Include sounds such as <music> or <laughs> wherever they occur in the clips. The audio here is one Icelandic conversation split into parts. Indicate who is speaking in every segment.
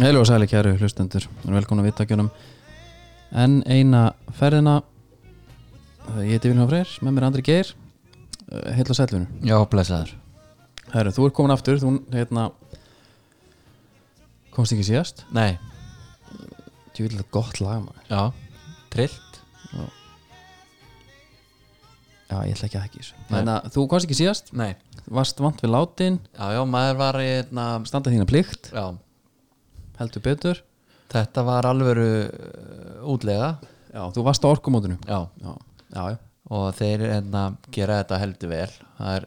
Speaker 1: Heilu og sæli kæru hlustendur og velkomin að vittakjönum enn eina ferðina Eh, ég heiti Vilhelm Freyr, með mér er Andri Geir heil og sælunum
Speaker 2: Já, blessaður
Speaker 1: Herru, þú er komin aftur, þú hérna komst ekki síðast
Speaker 2: Nei,
Speaker 1: Þú vil þetta gott lag maður
Speaker 2: já, trillt
Speaker 1: Já, ég ætla ekki að ekki þessu Þannig að þú komst ekki síðast,
Speaker 2: Nei,
Speaker 1: varst vant við látin
Speaker 2: já, já, maður var í einna
Speaker 1: standa þína plikt,
Speaker 2: Já,
Speaker 1: heldur betur
Speaker 2: þetta var alvöru uh, útlega
Speaker 1: Já, þú varst á orkumótinu
Speaker 2: Já,
Speaker 1: Já, já, já
Speaker 2: og þeir einna gera þetta heldur vel Það, er,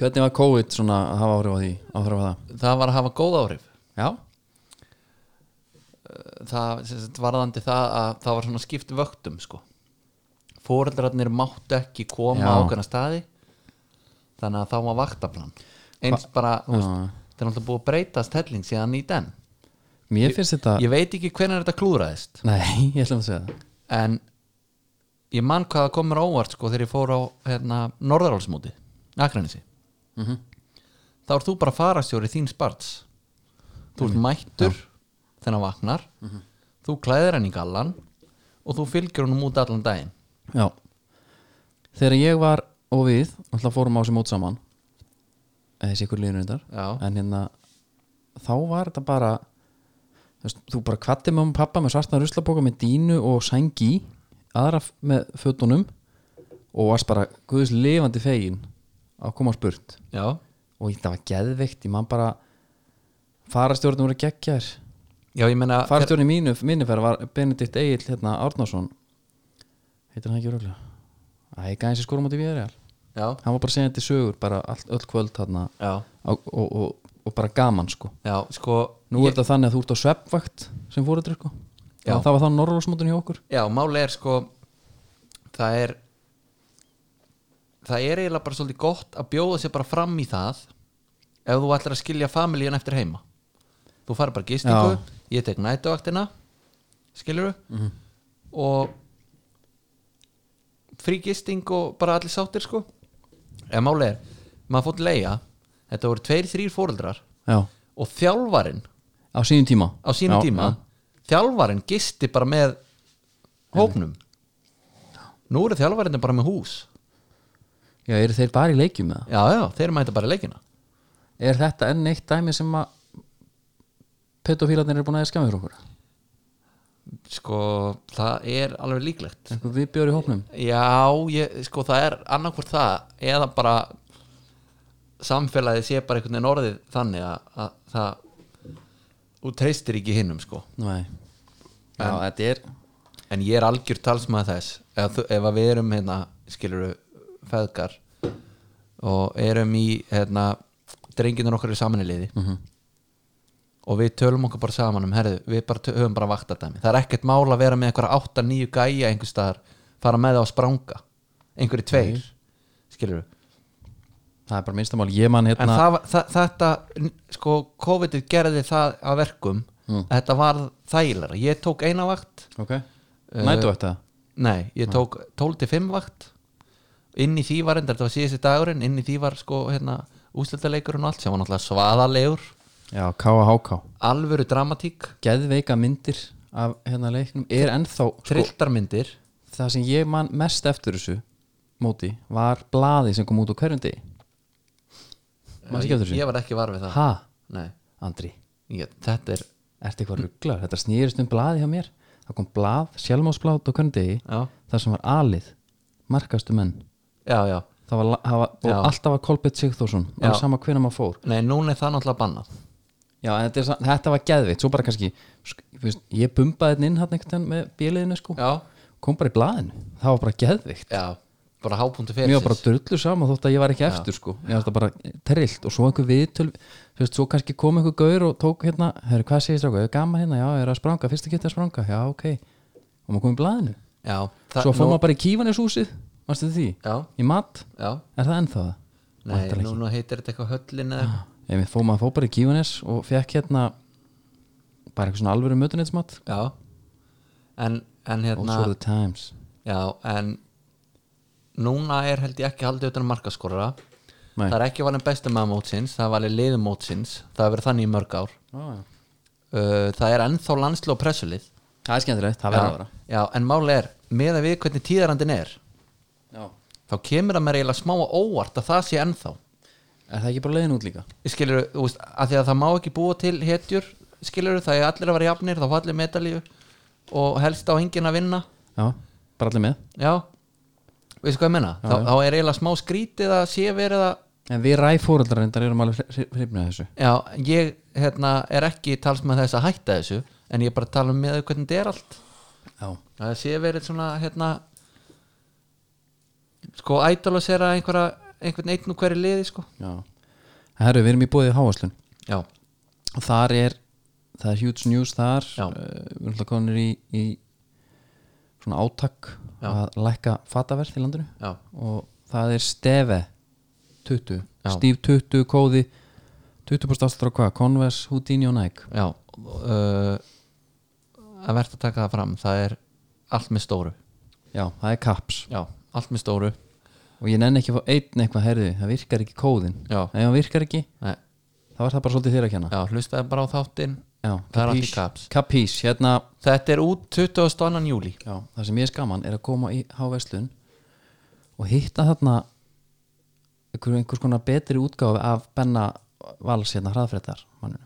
Speaker 1: Hvernig var COVID svona að hafa áhrif á því, áhrif á það?
Speaker 2: það var að hafa góð áhrif
Speaker 1: Já
Speaker 2: Það sem sagt, varðandi það að það var svona skipt vöktum sko Fóreldrarnir máttu ekki koma
Speaker 1: Já.
Speaker 2: á okkurna staði Þannig að þá var vaktaplan Eins bara, þú veist,
Speaker 1: Já.
Speaker 2: það er náttúrulega búið að breytast helling síðan í den
Speaker 1: Mér finnst þetta
Speaker 2: Ég veit ekki hvernig þetta klúðraðist
Speaker 1: Nei, <laughs> ég ætla að segja það
Speaker 2: en ég man hvað það kom mér á óvart sko þegar ég fór á hérna, Norðarálsmóti, Akranesi þá ert þú bara farastjóri þín sparts þú ert mættur þegar hann vaknar þú klæðir hann í gallan og þú fylgir honum út allan daginn
Speaker 1: Já Þegar ég var og við alltaf fórum á þessi mót saman eða þessi ykkur liðinu þetta
Speaker 2: já,
Speaker 1: en hérna þá var þetta bara þú veist, þú bara kvatti með um pappa með svartan ruslaboka með dínu og sængi í, aðra f- með fötunum og varst bara guðs lifandi fegin að koma spurt
Speaker 2: já,
Speaker 1: og þetta var geðveikt ég man bara farastjórnum voru geggjær
Speaker 2: já ég meina
Speaker 1: farastjórnum mínu, mínu ferð var Benedikt Egil hérna Árnason heitir hann ekki röglega Æ, gæði sér skorum átti við erum
Speaker 2: já,
Speaker 1: hann var bara segjandi sögur bara allt, öll kvöld þarna
Speaker 2: já,
Speaker 1: og, og, og, og bara gaman sko
Speaker 2: já, sko
Speaker 1: nú er þetta þannig að þú ert á sveppvakt sem fóruður sko
Speaker 2: Já.
Speaker 1: það var þann norrlósmótin hjá okkur
Speaker 2: já, máli er sko það er það er eiginlega bara svolítið gott að bjóða sér bara fram í það ef þú ætlar að skilja familíun eftir heima þú farið bara gistingu ég tek nætuvaktina skilur þú og frí gisting og bara allir sáttir sko en máli er, maður fótt leia þetta voru tveir, þrýr fóreldrar
Speaker 1: já.
Speaker 2: og þjálfarinn
Speaker 1: á sínum tíma
Speaker 2: á sínum
Speaker 1: já,
Speaker 2: tíma þjálfarinn gisti bara með hópnum nú eru þjálfarinn bara með hús
Speaker 1: já. já, eru þeir bara í leikjum með það
Speaker 2: já, já, þeir mæta bara í leikina
Speaker 1: er þetta enn eitt dæmi sem að pedofílarnir eru búin að skjáma fyrir okkur
Speaker 2: sko, það er alveg líklegt
Speaker 1: einhver við bjóður í hópnum
Speaker 2: já, ég, sko, það er annarkvort það eða bara samfélagið sé bara einhvern veginn orðið þannig að, að það þú treystir ekki hinnum sko
Speaker 1: nei já, þetta er
Speaker 2: en ég er algjör talsmaður þess ef, þú- ef að við erum hérna skilur feðgar og erum í hérna drenginar okkar í samanliði mm -hmm. og við tölum okkur bara saman um herðu, við bara tö- höfum bara vaktardæmi það er ekkert mál að vera með einhverja 8-9 gæja einhvers staðar, fara með það á spranga einhverju tveir mm. skilur
Speaker 1: það er bara minnstamál ég man
Speaker 2: en
Speaker 1: hérna
Speaker 2: það, var- það, þetta n- sko COVID-ið gerði það að verkum að þetta var þægilega ég tók eina vakt
Speaker 1: ok
Speaker 2: Eh,
Speaker 1: nættu þetta
Speaker 2: Nei, ég tók 12-5 vakt inn í því var enda, þetta var síðusti dagurinn inn í því var sko hérna úsleitaleikurinn og allt sem var náttúrulega svaðalegur
Speaker 1: já, KHK
Speaker 2: alvöru dramatík,
Speaker 1: Sko- geðveika myndir af hérna leiknum er ennþá sko,
Speaker 2: trilltarmyndir
Speaker 1: það sem ég man mest eftir þessu móti var blaði sem kom út á hverjum degi Manstu ekki eftir þessu?
Speaker 2: Ég var ekki var við það
Speaker 1: ha,
Speaker 2: Nei,
Speaker 1: Andri,
Speaker 2: ég, þetta er
Speaker 1: ertu eitthvað rugglar þetta snýrist um blaði hjá mér það kom blað, sjálfmásblad á hverjum degi
Speaker 2: já,
Speaker 1: þar sem var alið, markastu menn
Speaker 2: já, já,
Speaker 1: það var, það var
Speaker 2: Já.
Speaker 1: og alltaf var Kolbett Sigþórsson
Speaker 2: Já.
Speaker 1: alveg sama hvernig maður fór
Speaker 2: nei, núna er það náttúrulega bannað
Speaker 1: Já, en þetta, er, sa- þetta var geðveitt, svo bara kannski sk- þú veist, ég bumbaði þetta inn hann einhvern veginn með bíliðinu sko
Speaker 2: Já,
Speaker 1: kom bara í blaðinu, það var bara geðveikt
Speaker 2: já, bara hápunktu
Speaker 1: mér
Speaker 2: fyrir
Speaker 1: var bara drullu sama þótt að ég var ekki eftir sko ég var þetta bara trillt og svo einhver viðtöl þú veist, svo kannski kom einhver gaur og tók hérna herru, hvað segir stráku, er gaman hérna, já, ég er að spranga fyrst að geta að spranga, já, ok og maður kom í blaðinu,
Speaker 2: Já, það,
Speaker 1: svo fór
Speaker 2: nú,
Speaker 1: maður bara í kífanishúsið varstu því,
Speaker 2: já,
Speaker 1: í mat
Speaker 2: já,
Speaker 1: er það ennþá það?
Speaker 2: nei, núna heitir þetta eitthvað höllin eða
Speaker 1: Ég fór maður fór bara í kífanis og fekk hérna bara eitthvað svona alvöru mötunitsmat
Speaker 2: Já, en, en
Speaker 1: og
Speaker 2: hérna
Speaker 1: svo the times
Speaker 2: Já, en núna er held ég ekki haldið utan um markaskorra
Speaker 1: Nei.
Speaker 2: það er ekki valin bestu maður mótsins það er valin liðum mótsins það er verið þannig í mörg ár
Speaker 1: ah,
Speaker 2: uh, það er ennþá landslu og pressulið
Speaker 1: það er skemmtilegt, það verður að
Speaker 2: já,
Speaker 1: vera
Speaker 2: já, en máli er, með að við hvernig tíðarandin er
Speaker 1: já.
Speaker 2: þá kemur það mér eiginlega smá á óvart að það sé ennþá
Speaker 1: er það ekki bara leiðin út líka?
Speaker 2: skilur, þú veist, að því að það má ekki búa til hetjur, skilur, það er allir að vera jafnir þá fá allir medalíu og helst á enginn að vinna
Speaker 1: já, bara allir með
Speaker 2: já, veistu hvað ég menna þá, þá er eiginlega smá skrítið að sé verið að
Speaker 1: en við ræfóreldrar reyndar erum alveg hrifnið þessu
Speaker 2: já, ég hérna, er ekki talsmaður þess að hætta þessu en ég er bara að tala um með hvernig þetta er allt
Speaker 1: já,
Speaker 2: að það sé verið svona hérna sko ædolosera einhverja einhvern einn og hverju liði sko
Speaker 1: já herru, við erum í bóðið háaslun
Speaker 2: já,
Speaker 1: og þar er það er huge news þar
Speaker 2: Já.
Speaker 1: Eh, við erum alltaf konir í, í svona átak
Speaker 2: Já.
Speaker 1: að lækka fataverð í landinu
Speaker 2: já,
Speaker 1: og það er stefe 20,
Speaker 2: Já.
Speaker 1: stíf 20 kóði 20% aftur á hvað, Converse, Houdini og Nike
Speaker 2: já uh, að verða að taka það fram það er allt með stóru
Speaker 1: já, það er kaps
Speaker 2: já, allt með stóru
Speaker 1: og ég nenni ekki að fá einn eitthvað herðu það virkar ekki kóðin,
Speaker 2: Já.
Speaker 1: ef hann virkar ekki
Speaker 2: Nei,
Speaker 1: þá er það bara svolítið þér að kenna
Speaker 2: já, hlustaði bara á þáttinn
Speaker 1: já,
Speaker 2: Það er allt í kaps.
Speaker 1: kapís, hérna
Speaker 2: þetta er út 22. júli
Speaker 1: já, það sem ég er skaman er að koma í háveslun og hitta þarna einhver, einhvers konar betri útgáfi af Benna Vals hérna hraðfréttar mannum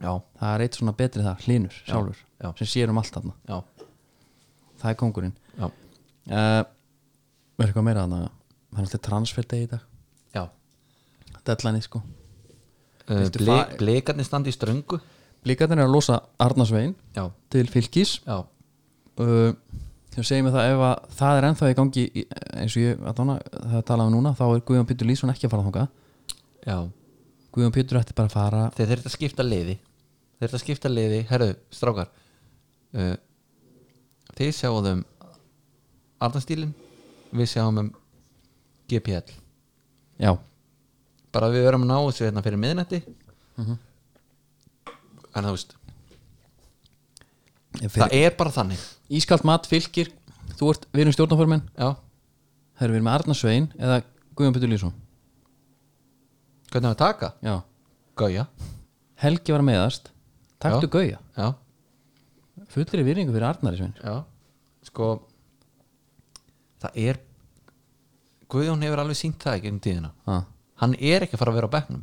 Speaker 2: já,
Speaker 1: það er eitt svona betri það, hlínur sjálfur
Speaker 2: já.
Speaker 1: sem sér um allt þarna,
Speaker 2: já,
Speaker 1: það er kongurinn
Speaker 2: já,
Speaker 1: uh, er eitthvað meira þarna það er alltaf transferdegi í dag
Speaker 2: já.
Speaker 1: deadline sko
Speaker 2: Uh,
Speaker 1: Viltu
Speaker 2: ble,
Speaker 1: fa-
Speaker 2: blekarnir standi í ströngu
Speaker 1: blíkarnir er að losa Arnarsvegin
Speaker 2: já,
Speaker 1: til fylgis
Speaker 2: já,
Speaker 1: uh, sem segir mér það ef að það er ennþá í gangi í- eins og ég allan að það er talað um núna þá er Guðjón Pétur Lýsson ekki að fara þangað
Speaker 2: já
Speaker 1: Guðjón Pétur ætti bara að fara
Speaker 2: þeir þurft að skipta liði þeir þurft að skipta liði, herðu, strákar uh, þeir sjáum Arnastílin við sjáum um GPL
Speaker 1: já,
Speaker 2: bara við verum að ná þessu hérna fyrir miðnætti en þú veist það
Speaker 1: fyrir,
Speaker 2: er bara þannig
Speaker 1: ískalt mat fylgir þú ert, við erum stjórnaformin
Speaker 2: já,
Speaker 1: það eru við með Arnarsvegin eða Guðjón Pétur Lýsson
Speaker 2: hvernig á að taka?
Speaker 1: já,
Speaker 2: Gauja,
Speaker 1: Helgi var meðast taktu
Speaker 2: Já.
Speaker 1: Gauja,
Speaker 2: já
Speaker 1: fullri virðingu fyrir Arnari Svein
Speaker 2: Já, sko það er Guðjón hefur alveg sínt það í gegnum tíðina
Speaker 1: ah,
Speaker 2: hann er ekki að fara að vera á bekknum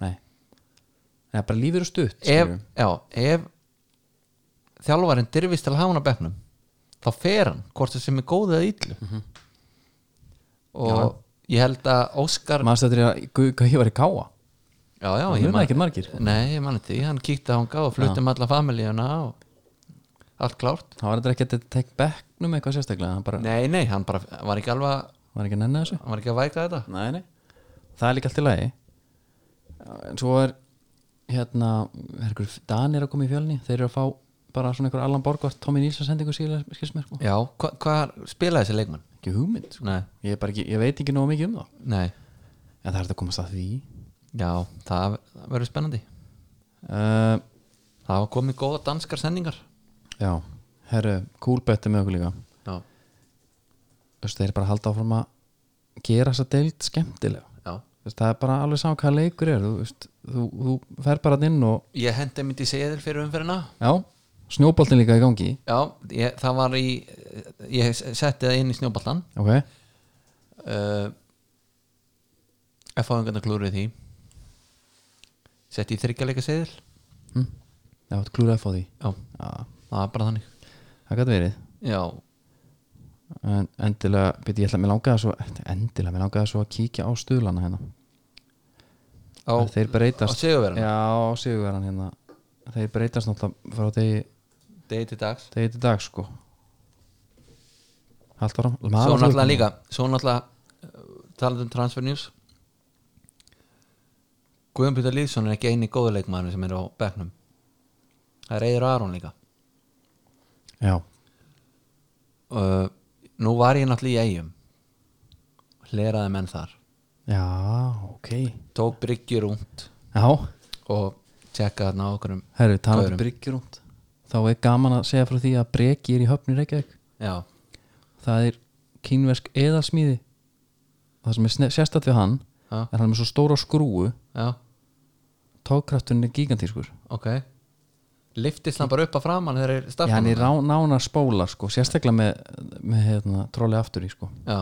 Speaker 1: nei það er bara lífur og stutt
Speaker 2: ef,
Speaker 1: skilurðu.
Speaker 2: já, ef þjálfarinn dyrfist til að hafa hann á bekknum þá fer hann, hvort það sem er góð eða illu
Speaker 1: Mhm.
Speaker 2: og ég held að Óskar
Speaker 1: maður stættir að Gau- Gauja var í káa
Speaker 2: já, já,
Speaker 1: það
Speaker 2: ég
Speaker 1: muna
Speaker 2: man,
Speaker 1: ekki margir
Speaker 2: nei, ég manni því hann kíkti að hann gá og fluttum alla familíuna og allt klárt
Speaker 1: það var þetta ekki að tekk bekknum eitthvað sérstaklega hann bara,
Speaker 2: nei, nei, hann bara var ekki alveg að-
Speaker 1: var ekki að nenni þessu
Speaker 2: hann var ekki að væka þetta
Speaker 1: nei, nei. það er líka allt í lagi en svo er hérna, er ykkur Danir að koma í fjölni þeir eru að fá bara svona einhver Allan Borgvart Tommy Nilsson sendingu síðan skilsmér sko.
Speaker 2: já, hva, hvað spilaði þessi leikmann?
Speaker 1: ekki hugmynd, sko.
Speaker 2: Nei,
Speaker 1: ég, er bara ekki, ég veit ekki nóg mikið um það
Speaker 2: nei,
Speaker 1: en það er þetta að komast að því
Speaker 2: já, það það verður spennandi
Speaker 1: uh,
Speaker 2: Það hafa komið góða danskar sendingar
Speaker 1: já, herru, kúlbetti með okkur líka
Speaker 2: Já,
Speaker 1: Þú veist, þeir eru bara að halda áfram að gera þessa deild skemmtilega
Speaker 2: já
Speaker 1: Þú veist, það er bara alveg saman hvað leikur er þú, veist, þú, þú fer bara þarna inn og
Speaker 2: Ég hendi myndi seðil fyrir umferðina
Speaker 1: já, snjóboltin líka í gangi
Speaker 2: Já, ég, það var í Ég setti það inn í snjóballan
Speaker 1: ok,
Speaker 2: uh, F.A. engan að klúrið því Setti í þryggjaleika seðil
Speaker 1: hm? já, þetta klúraði að fá því
Speaker 2: Já,
Speaker 1: já,
Speaker 2: það var bara þannig
Speaker 1: það gæti verið
Speaker 2: Já,
Speaker 1: en endilega, beti ég ætla að mér langaði svo endilega, mér langaði svo að kíkja á stuðlana hérna
Speaker 2: á,
Speaker 1: þeir
Speaker 2: á
Speaker 1: breytast
Speaker 2: sigurverðan
Speaker 1: já, á sigurverðan hérna þeir breytast náttúrulega frá degi
Speaker 2: Degi til dags
Speaker 1: degi til dag sko haldt áram
Speaker 2: Svo náttúrulega líka Svo náttúrulega uh, talað um transfer news Guðjón Pítur Lýðsson er ekki eini góðu leikmaður sem er á bekknum Það er Eður Aron líka
Speaker 1: já,
Speaker 2: uh, Nú var ég náttúrulega í eigum Hleraði menn þar
Speaker 1: já, ok
Speaker 2: Tók bryggjur únt
Speaker 1: já,
Speaker 2: og tjekkaði þarna á okkur um
Speaker 1: herru, talað
Speaker 2: Gaurum.
Speaker 1: um bryggjurúnd þá er gaman að segja frá því að breki er í höfni Reykjavík
Speaker 2: Já,
Speaker 1: það er kínversk eðalsmíði það sem er sne- sérstætt við hann
Speaker 2: já,
Speaker 1: er hann er með svo stóra skrúu
Speaker 2: já,
Speaker 1: tókkrafturinn er gigantískur
Speaker 2: ok liftist hann bara upp að framann þegar er
Speaker 1: Já, hann
Speaker 2: startan
Speaker 1: er rá, nánar spóla sko, sérstaklega með, með hérna, trolli aftur í sko
Speaker 2: Já,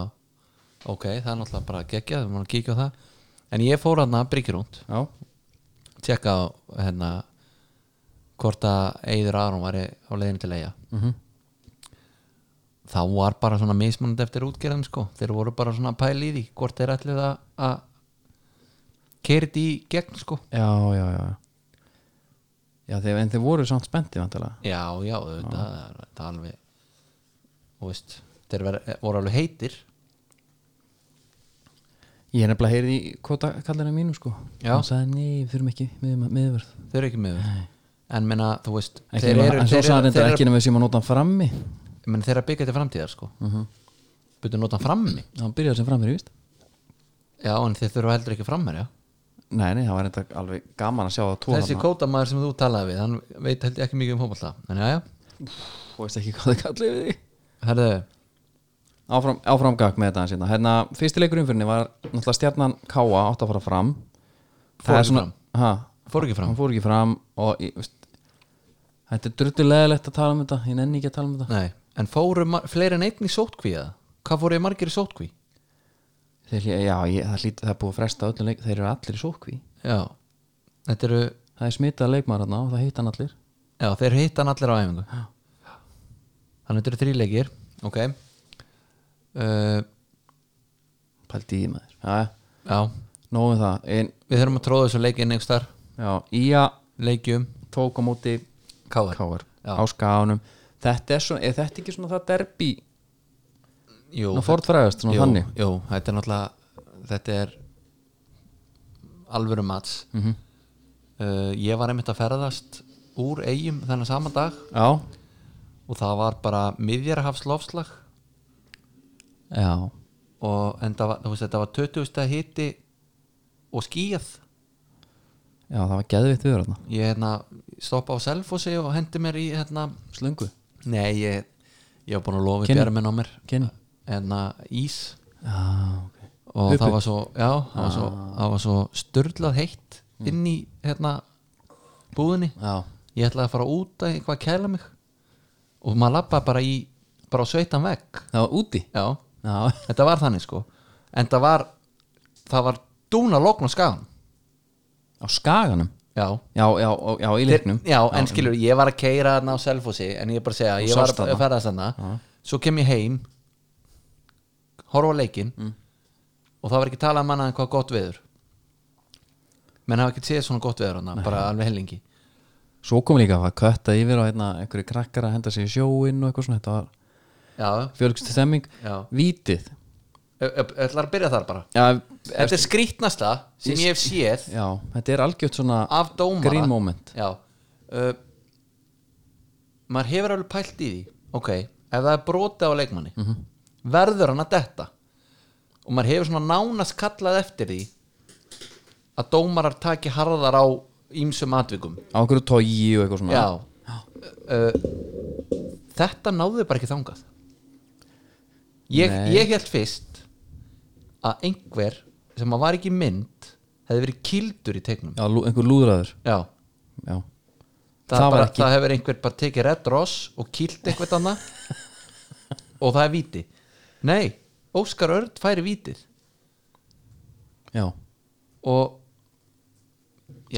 Speaker 2: ok, það er náttúrulega bara geggjað við máum að kíkja á það En ég fór hann að bryggjurúnd
Speaker 1: Já,
Speaker 2: tjekka á hérna hvort að Eiður Aron væri á leiðinu til eiga
Speaker 1: Mhm.
Speaker 2: Þá var bara svona mismunandi eftir útgerðum sko Þeir voru bara svona að pæla í því hvort þeir ætluð að- að keiri því í gegn sko
Speaker 1: já, já, já Já, þeir, en þeir voru samt spennti vantilega
Speaker 2: Já, já, auðvitað, það er- það er alveg Þú veist, þeir ver, voru alveg heitir
Speaker 1: Ég er nefnilega heyrið í kota kallina mínu sko
Speaker 2: Já.
Speaker 1: Hann sagði, nei, við þurfum ekki miðum- miðvörð
Speaker 2: Þeir eru ekki með En menna, þú veist
Speaker 1: En þeir eru, en svo sagði hann
Speaker 2: þeir
Speaker 1: reyndar
Speaker 2: eru
Speaker 1: ekki nema við séum að nota hann frammi
Speaker 2: Ég menn þeirra byggja til framtíðar sko uh -huh. Byrja nota frammi
Speaker 1: Hann byrjaði sem frammi, víst
Speaker 2: Já, en þeir þurfa heldur ekki framherja
Speaker 1: Nei, nei, það var reyndar alveg gaman að sjá það tóra
Speaker 2: Þessi kótamaður sem þú talaði við Hann veit heldur ekki mikið um hópallta En já, já,
Speaker 1: Þú veist ekki hvað það kallið við því
Speaker 2: herðu
Speaker 1: áfram, áfram gag með þetta aðeins hérna. hérna, fyrsti leikur umfyrinni var náttúrulega stjarnan Káa átt að fara fram
Speaker 2: Fór
Speaker 1: Það er
Speaker 2: ekki fram.
Speaker 1: ha,
Speaker 2: Fór ekki fram
Speaker 1: hann fór ekki fram og ég, veist, þetta er drullulegilegt að tala um þetta ég nenni ekki að tala um þetta
Speaker 2: Nei, en fóru mar- fleiri en einn í sótkví eða? Hvað fóru margir í sótkví?
Speaker 1: þeir, hlý- já, ég, það, hlýt, það er búið að fresta öllum leik þeir eru allir í sókví
Speaker 2: Já, þetta eru
Speaker 1: það er smitað leikmaður hérna og það hitt hann allir
Speaker 2: Já, þeir hitta hann allir á æfingu Þannig þetta eru þríleikir Ok uh,
Speaker 1: pældi í maður ja,
Speaker 2: Já,
Speaker 1: nóðum um það en,
Speaker 2: við þurfum að tróða þessu leik inn einhvers þar
Speaker 1: já, Ía
Speaker 2: Leikjum,
Speaker 1: tók á móti
Speaker 2: káar
Speaker 1: Káar
Speaker 2: Já.
Speaker 1: á skáanum þetta er, svona, er þetta ekki svona það derbi
Speaker 2: Jú,
Speaker 1: Ná, fortfræðast, svona
Speaker 2: jú,
Speaker 1: þannig
Speaker 2: jú, þetta er náttúrulega þetta er alvöru mats -hmm. uh, ég var einmitt að ferðast úr eigum þennan sama dag
Speaker 1: já,
Speaker 2: og það var bara miðjarhafs lofslag
Speaker 1: já
Speaker 2: og en það var, þú veist, þetta var 20. hiti og skíjað
Speaker 1: Já, það var geðvitt viður hérna
Speaker 2: ég hérna, stoppa á selfossi og hendi mér í hérna,
Speaker 1: Slöngu
Speaker 2: nei ég ég var búin að lofa
Speaker 1: Kenny.
Speaker 2: björminn á mér
Speaker 1: Kenny.
Speaker 2: hérna, ís
Speaker 1: Já, ok
Speaker 2: og
Speaker 1: Uppi?
Speaker 2: það var svo, já, það var svo, það var svo störlað heitt inn í hérna búðinni
Speaker 1: Já,
Speaker 2: ég ætlaði að fara út að eitthvað kæla mig og maður lappaði bara í bara á sveitan vegg
Speaker 1: það var úti
Speaker 2: já,
Speaker 1: Já,
Speaker 2: þetta var þannig sko en það var, það var dúna lokn á skagan
Speaker 1: á skaganum
Speaker 2: já,
Speaker 1: Já, já, og- já, í leiknum
Speaker 2: já, en skilur, ég var að keira þarna á selfossi en ég er bara að segja,
Speaker 1: Þú
Speaker 2: ég var
Speaker 1: sást
Speaker 2: að
Speaker 1: þarna.
Speaker 2: ferðast þarna svo kem ég heim horfa á leikin
Speaker 1: Mm.
Speaker 2: og það var ekki talað um annað en hvað gott veður menn hafa ekki séð svona gott veður hana, bara alveg hellingi
Speaker 1: Svo kom líka að það kötta yfir og hérna einhverju krakkar að henda sig í sjóinn og eitthvað svona Þetta var
Speaker 2: já,
Speaker 1: fjölgstu stemming
Speaker 2: já,
Speaker 1: Vítið
Speaker 2: Ö- ö- ætlar að byrja þar bara
Speaker 1: Já,
Speaker 2: þetta er skrítnasta sem ég hef séð
Speaker 1: já þetta er algjöft svona
Speaker 2: af dómara
Speaker 1: Green moment
Speaker 2: já uh, maður hefur alveg pælt í því ok, ef það er brotið á leikmanni
Speaker 1: Mhm.
Speaker 2: verður hann að detta og maður hefur svona nánast kallað eftir því að dómarar taki harðar á ýmsum atvikum
Speaker 1: Á einhverju tógi og eitthvað svona
Speaker 2: já uh, þetta náðu bara ekki þangað ég,
Speaker 1: Nei.
Speaker 2: ég held fyrst að einhver sem að var ekki í mynd hefði verið kildur í teiknum
Speaker 1: Já, lú- einhver lúðraður
Speaker 2: já
Speaker 1: Já
Speaker 2: það,
Speaker 1: Það
Speaker 2: það,
Speaker 1: var
Speaker 2: bara,
Speaker 1: ekki-
Speaker 2: það hefur einhver bara tekið redd ross og kýlt eitthvað
Speaker 1: <laughs>
Speaker 2: annað og það er víti nei, Óskar Örd færi vítið
Speaker 1: Já
Speaker 2: og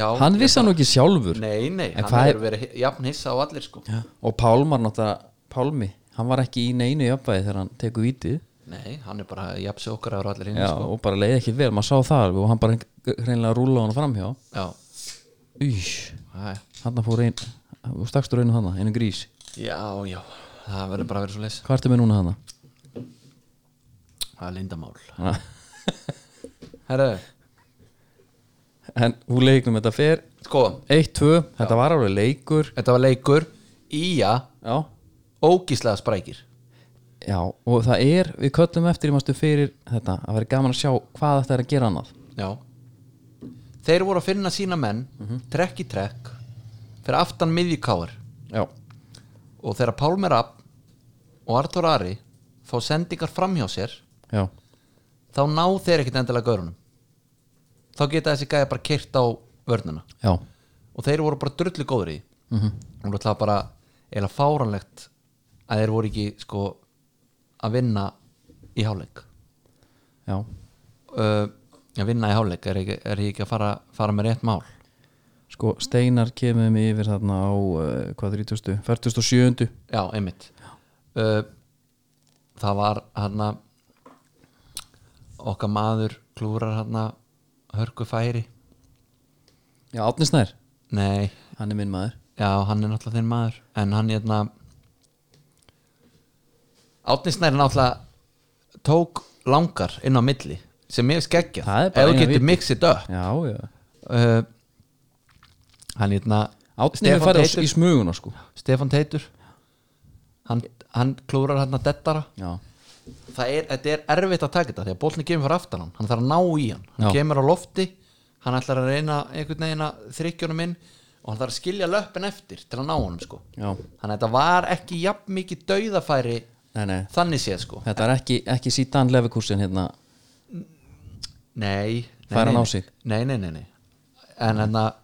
Speaker 2: já,
Speaker 1: Hann vissi hann nú ekki sjálfur
Speaker 2: nei, nei,
Speaker 1: En
Speaker 2: hann
Speaker 1: hvað er-
Speaker 2: hefur verið jafn hissa á allir sko
Speaker 1: Já. Og Pálmar náttúrulega Pálmi, hann var ekki í neinu jöfnvæði þegar hann tekur vítið
Speaker 2: nei, hann er bara jafn sér okkar ára allir hinn
Speaker 1: Já,
Speaker 2: sko.
Speaker 1: og bara leiði ekki vel, maður sá það alveg og hann bara hreinlega rúla hann framhjá
Speaker 2: já,
Speaker 1: Új,
Speaker 2: Æ,
Speaker 1: hann fór einn og stakstur einu hana, einu grís
Speaker 2: já, já það verður bara að vera svo leys
Speaker 1: Hvað ertu með núna hana?
Speaker 2: það er lindamál
Speaker 1: Ha.
Speaker 2: herru,
Speaker 1: En úr leiknum þetta fer
Speaker 2: sko,
Speaker 1: 1-2, þetta var alveg leikur
Speaker 2: þetta var leikur Ía,
Speaker 1: Já
Speaker 2: ógíslega sprækir
Speaker 1: Já, og það er, við köllum eftir í mástu fyrir þetta, að vera gaman að sjá hvað þetta er að gera annað
Speaker 2: Já Þeir voru að finna sína menn
Speaker 1: Mhm.
Speaker 2: trekk í trekk fyrir aftan miðjukáar
Speaker 1: Já,
Speaker 2: og þegar Pálmer Rapp og Artur Ari fá sendingar framhjá sér
Speaker 1: já,
Speaker 2: þá ná þeir ekkit endilega gaurunum þá geta þessi gæja bara kyrt á vörnuna
Speaker 1: já
Speaker 2: og þeir voru bara drullu góður í því. og það bara eða fáranlegt að þeir voru ekki sko að vinna í hálfleik
Speaker 1: já,
Speaker 2: uh, að vinna í hálfleik er, ekki, er ég ekki að fara, fara með rétt mál
Speaker 1: sko Steinar kemur mig yfir þarna á uh, hvað 30, 47
Speaker 2: já, einmitt uh, það var hann okkar maður klúrar hann hörku færi
Speaker 1: já, Átni Snær,
Speaker 2: nei,
Speaker 1: hann er minn maður
Speaker 2: já, hann er náttúrulega þinn maður en hann hérna Átni Snær náttúrulega tók langar inn á milli sem ég skeggja
Speaker 1: Það er
Speaker 2: ef
Speaker 1: bara
Speaker 2: þú
Speaker 1: eina
Speaker 2: getur
Speaker 1: viti.
Speaker 2: mix it up
Speaker 1: já, já,
Speaker 2: uh, hann hérna
Speaker 1: Átni hefur farið á,
Speaker 2: Teitur,
Speaker 1: í smuguna sko
Speaker 2: Stefán Teitur hann, hann klúrar hann að dettara
Speaker 1: já,
Speaker 2: það er, þetta er erfitt að taka þetta því að bólni kemur fyrir aftan hann, hann þarf að ná í hann hann
Speaker 1: Já.
Speaker 2: kemur á lofti, hann ætlar að reyna einhvern veginn að þryggjónum inn og hann þarf að skilja löppin eftir til að ná honum sko.
Speaker 1: já,
Speaker 2: þannig að þetta var ekki jafn mikið dauðafæri
Speaker 1: nei, nei
Speaker 2: þannig séð sko
Speaker 1: þetta er ekki, ekki síðan lefikúsin hérna
Speaker 2: nei, nei,
Speaker 1: Fær hann
Speaker 2: nei,
Speaker 1: á sig?
Speaker 2: nei, nei, nei, nei. en en að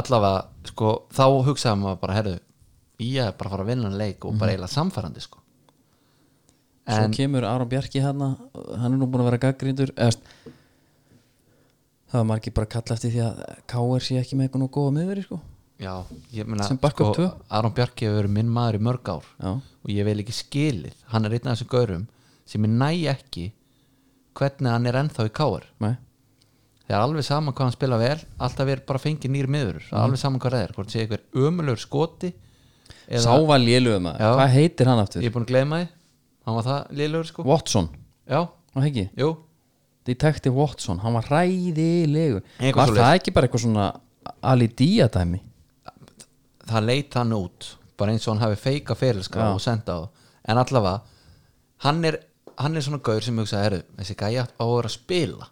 Speaker 2: allavega sko þá hugsaði maður bara herðu ég er bara að fara að vinna hann leik og
Speaker 1: Mhm.
Speaker 2: bara eiginlega samfærandi sko
Speaker 1: svo kemur Aron Bjarki hérna hann er nú búin að vera gaggrindur eðst, það var margir bara að kalla eftir því að KR sé ekki með eitthvað nú góða miðveri sko
Speaker 2: Já, ég meina sko,
Speaker 1: Sem backup tvö?
Speaker 2: Aron Bjarki hefur verið minn maður í mörg ár
Speaker 1: já,
Speaker 2: og ég vil ekki skilið, hann er einn af þessum gaurum sem ég næ ekki hvernig hann er ennþá í káar
Speaker 1: nei,
Speaker 2: það er alveg saman hvað hann spila vel alltaf er bara fengið nýr miður mm. alveg saman hvað það er, hvort sé eitthvað ömulur skoti eða
Speaker 1: sáva lélugum að
Speaker 2: Já.
Speaker 1: hvað heitir hann aftur?
Speaker 2: ég er búin að gleyma því hann var það liðlegur sko
Speaker 1: Watson,
Speaker 2: Já,
Speaker 1: var það ekki?
Speaker 2: jú,
Speaker 1: Detective Watson, hann var ræðilegu
Speaker 2: Eitthvað
Speaker 1: var
Speaker 2: svoleiðis.
Speaker 1: það ekki bara eitthvað svona Ali Día dæmi?
Speaker 2: það leit hann út bara eins og hann hafi feika fyrirskra og senda á en allavega hann er, hann er svona gaur sem hugsa heru, þessi gæja á að vera að spila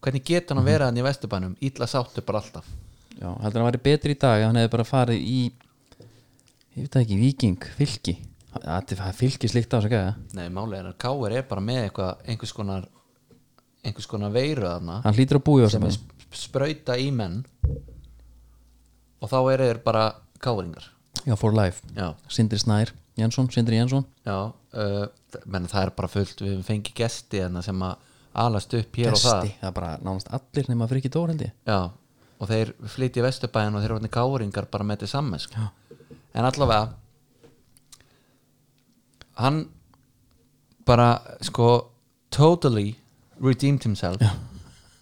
Speaker 2: hvernig getur hann að vera hann í vesturbænum illa sáttu bara alltaf
Speaker 1: já, heldur hann væri betri í dag ef hann hefði bara farið í ég veit það ekki, Viking, Fylki það það er Fylki slíkt á þess að gæða
Speaker 2: nei, málega er að Káir er bara með eitthvað, einhvers konar einhvers konar veiru þarna
Speaker 1: hann hlýtur að búi á
Speaker 2: sem
Speaker 1: sem
Speaker 2: er sp- sprauta í menn og þá eru þeir bara káringar
Speaker 1: já, for life
Speaker 2: já,
Speaker 1: Sindri Snær Jensson, Sindri Jensson
Speaker 2: já uh, menn það er bara fullt við höfum fengið gesti þarna sem að alast upp hér og það
Speaker 1: það er bara nánast allir nema Friki Dór held ég
Speaker 2: Já, og þeir flytti í vesturbæðin og þeir eru hvernig gáringar bara með þetta saman sko. en allavega hann bara sko totally redeemed himself Já.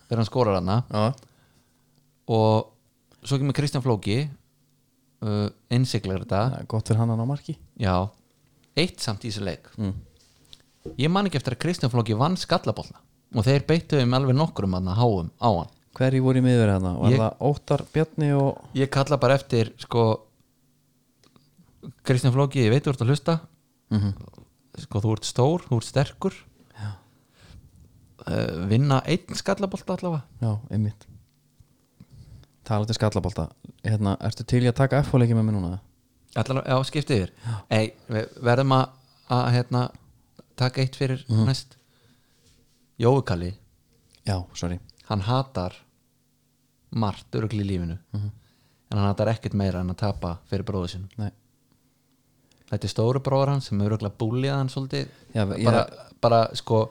Speaker 2: þegar hann skorar hana
Speaker 1: já,
Speaker 2: og svo kemur Kristján Flóki uh, innsiklar þetta
Speaker 1: það er gott fyrir hann að ná marki
Speaker 2: Já, Mm. eitt samt í þessu leik Ég man ekki eftir að Kristján Flóki vann skallabólna og þeir beittu um alveg nokkrum hann að háum á hann
Speaker 1: hverji voru í miður hérna, var
Speaker 2: Ég-
Speaker 1: það Óttar Bjarni og
Speaker 2: ég kalla bara eftir sko Kristján Flóki, ég veit þú ert að hlusta sko þú ert stór, þú ert sterkur uh, vinna einn skallabolt allavega
Speaker 1: já, einmitt talaði skallabólta hérna, ertu til í að taka F-fóliki með mér núna?
Speaker 2: allavega, já, skipti yfir Ei, við verðum að, að hérna, taka eitt fyrir næst Jói Kalli,
Speaker 1: já, sorry
Speaker 2: hann hatar margt örugli í lífinu en hann hatar ekkert meira en að tapa fyrir bróðu sinu
Speaker 1: Nei.
Speaker 2: þetta er stóru bróður hans sem hefur örugglega búlið hann svolítið
Speaker 1: Já, ég-
Speaker 2: bara, bara sko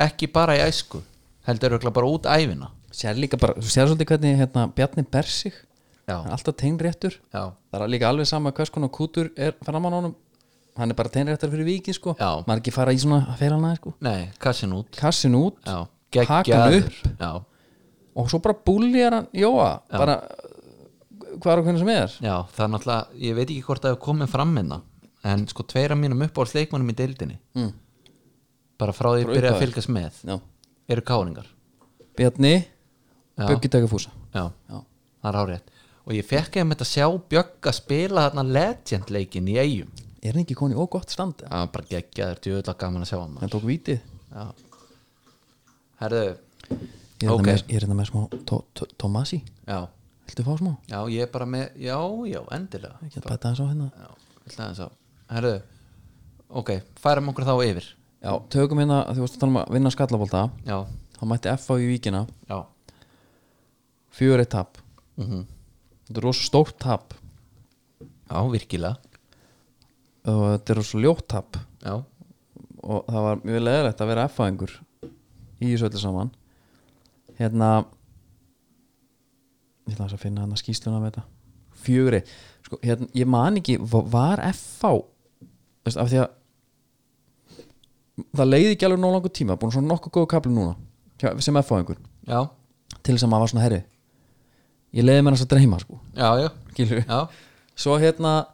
Speaker 2: ekki bara í æsku heldur örugglega bara út æfina
Speaker 1: sér líka bara, þú sér svolítið hvernig hérna, Bjarni ber sig hann er
Speaker 2: já,
Speaker 1: alltaf teinréttur
Speaker 2: já,
Speaker 1: það er líka alveg sama hvers konar kútur er framan á honum hann er bara teinréttar fyrir vikið sko
Speaker 2: Já.
Speaker 1: maður ekki fara í svona félana sko
Speaker 2: nei, kassin út
Speaker 1: kassin út
Speaker 2: já,
Speaker 1: Hakan
Speaker 2: geggjaður
Speaker 1: upp.
Speaker 2: já,
Speaker 1: og svo bara búljar hann Jóa bara uh, hvar og hvernig sem er
Speaker 2: já, það er náttúrulega ég veit ekki hvort það hefur komið fram með það en sko tveira mínum upp á sleikmanum í deildinni
Speaker 1: Mm.
Speaker 2: bara frá því
Speaker 1: Bara
Speaker 2: ég byrja að
Speaker 1: upphafi.
Speaker 2: fylgast með
Speaker 1: já.
Speaker 2: eru káringar
Speaker 1: Bjarni,
Speaker 2: Já.
Speaker 1: Böggi Dagafúsa
Speaker 2: já,
Speaker 1: Já.
Speaker 2: það er árétt og ég fekk ég með þetta sjá Bjögg að spila þarna legend leikin í eigum
Speaker 1: er hann ekki koni ógott stand
Speaker 2: það var bara geggjaður, djöðla gaman að sjá hann maður.
Speaker 1: hann tók vitið
Speaker 2: Já Herðu,
Speaker 1: ég er
Speaker 2: Ok.
Speaker 1: okay. þetta með smá tó, tó, Tomasi,
Speaker 2: já
Speaker 1: viltu fá smá?
Speaker 2: Já, ég er bara með, já, já, endilega
Speaker 1: ekki að bæta hans á hérna
Speaker 2: Já, ætla aðeins á Herðu, ok, færum okkur þá yfir
Speaker 1: já, tökum hérna, þú veist að tala um að vinna skallabólta
Speaker 2: Já,
Speaker 1: þá mætti FA í víkina
Speaker 2: já
Speaker 1: fjögur eitt tap
Speaker 2: mm
Speaker 1: Mhm. þetta er rosa stórt tap
Speaker 2: já, virkilega
Speaker 1: og þetta er svo ljóttap
Speaker 2: já,
Speaker 1: og það var mjög leðilegt að vera F-fæðingur í þessu öllu saman hérna ég ætla aðeins að finna hann að skýsluna með þetta fjögri, sko, hérna, ég man ekki va- var F-fá veist, af því að það leiði ekki alveg nóg langur tíma búin svona nokkuð góðu kapli núna hjá- sem F-fáðingur,
Speaker 2: já,
Speaker 1: til þess að maður var svona herri ég leiði mér hans að dreyma sko,
Speaker 2: já, já,
Speaker 1: gilur
Speaker 2: já.
Speaker 1: svo hérna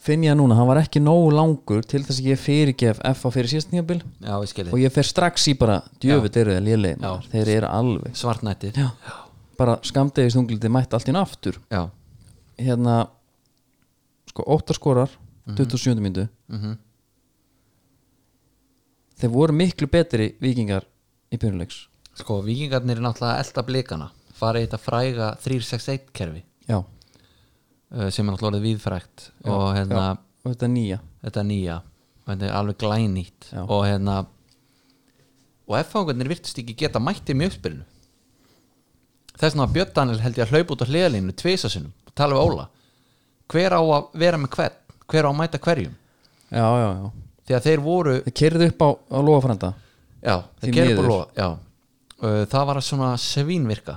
Speaker 1: finn ég núna, hann var ekki nógu langur til þess að ég fyrirgef F á fyrir síðast nýjabil
Speaker 2: Já, ég skil
Speaker 1: og
Speaker 2: þið
Speaker 1: ég fer strax í bara djöfitt eru þeir lélegir
Speaker 2: Já.
Speaker 1: maður. þeir eru alveg
Speaker 2: Svartnættir
Speaker 1: Já. bara skamdegis þungliti mætt allt inn aftur
Speaker 2: Já.
Speaker 1: hérna sko 8 skorar 27. myndu
Speaker 2: Mhm.
Speaker 1: þeir voru miklu betri vikingar í byrjuleiks
Speaker 2: Sko, vikingarnir er náttúrulega að elda blikana fara í þetta fræga 361 kerfi
Speaker 1: já,
Speaker 2: uh, sem er náttúrulega orðið víðfrægt og hérna,
Speaker 1: já. og þetta er nýja
Speaker 2: þetta er nýja þetta er alveg glænýtt
Speaker 1: Já.
Speaker 2: og hérna og F-fangarnir virtust ekki geta mætti mjög spilinu þess vegna að Björn Daniel held ég að hlaupa út á hliðalínu tvisasunum og tala við Óla hver á að vera með hvern, hver á að mæta hverjum
Speaker 1: já, já, já,
Speaker 2: því að þeir voru
Speaker 1: þeir kerðu upp á, á lofafrænda
Speaker 2: Já,
Speaker 1: Því
Speaker 2: það gerir
Speaker 1: miður.
Speaker 2: bara lofa já. Uh, Það var að svona svínvirka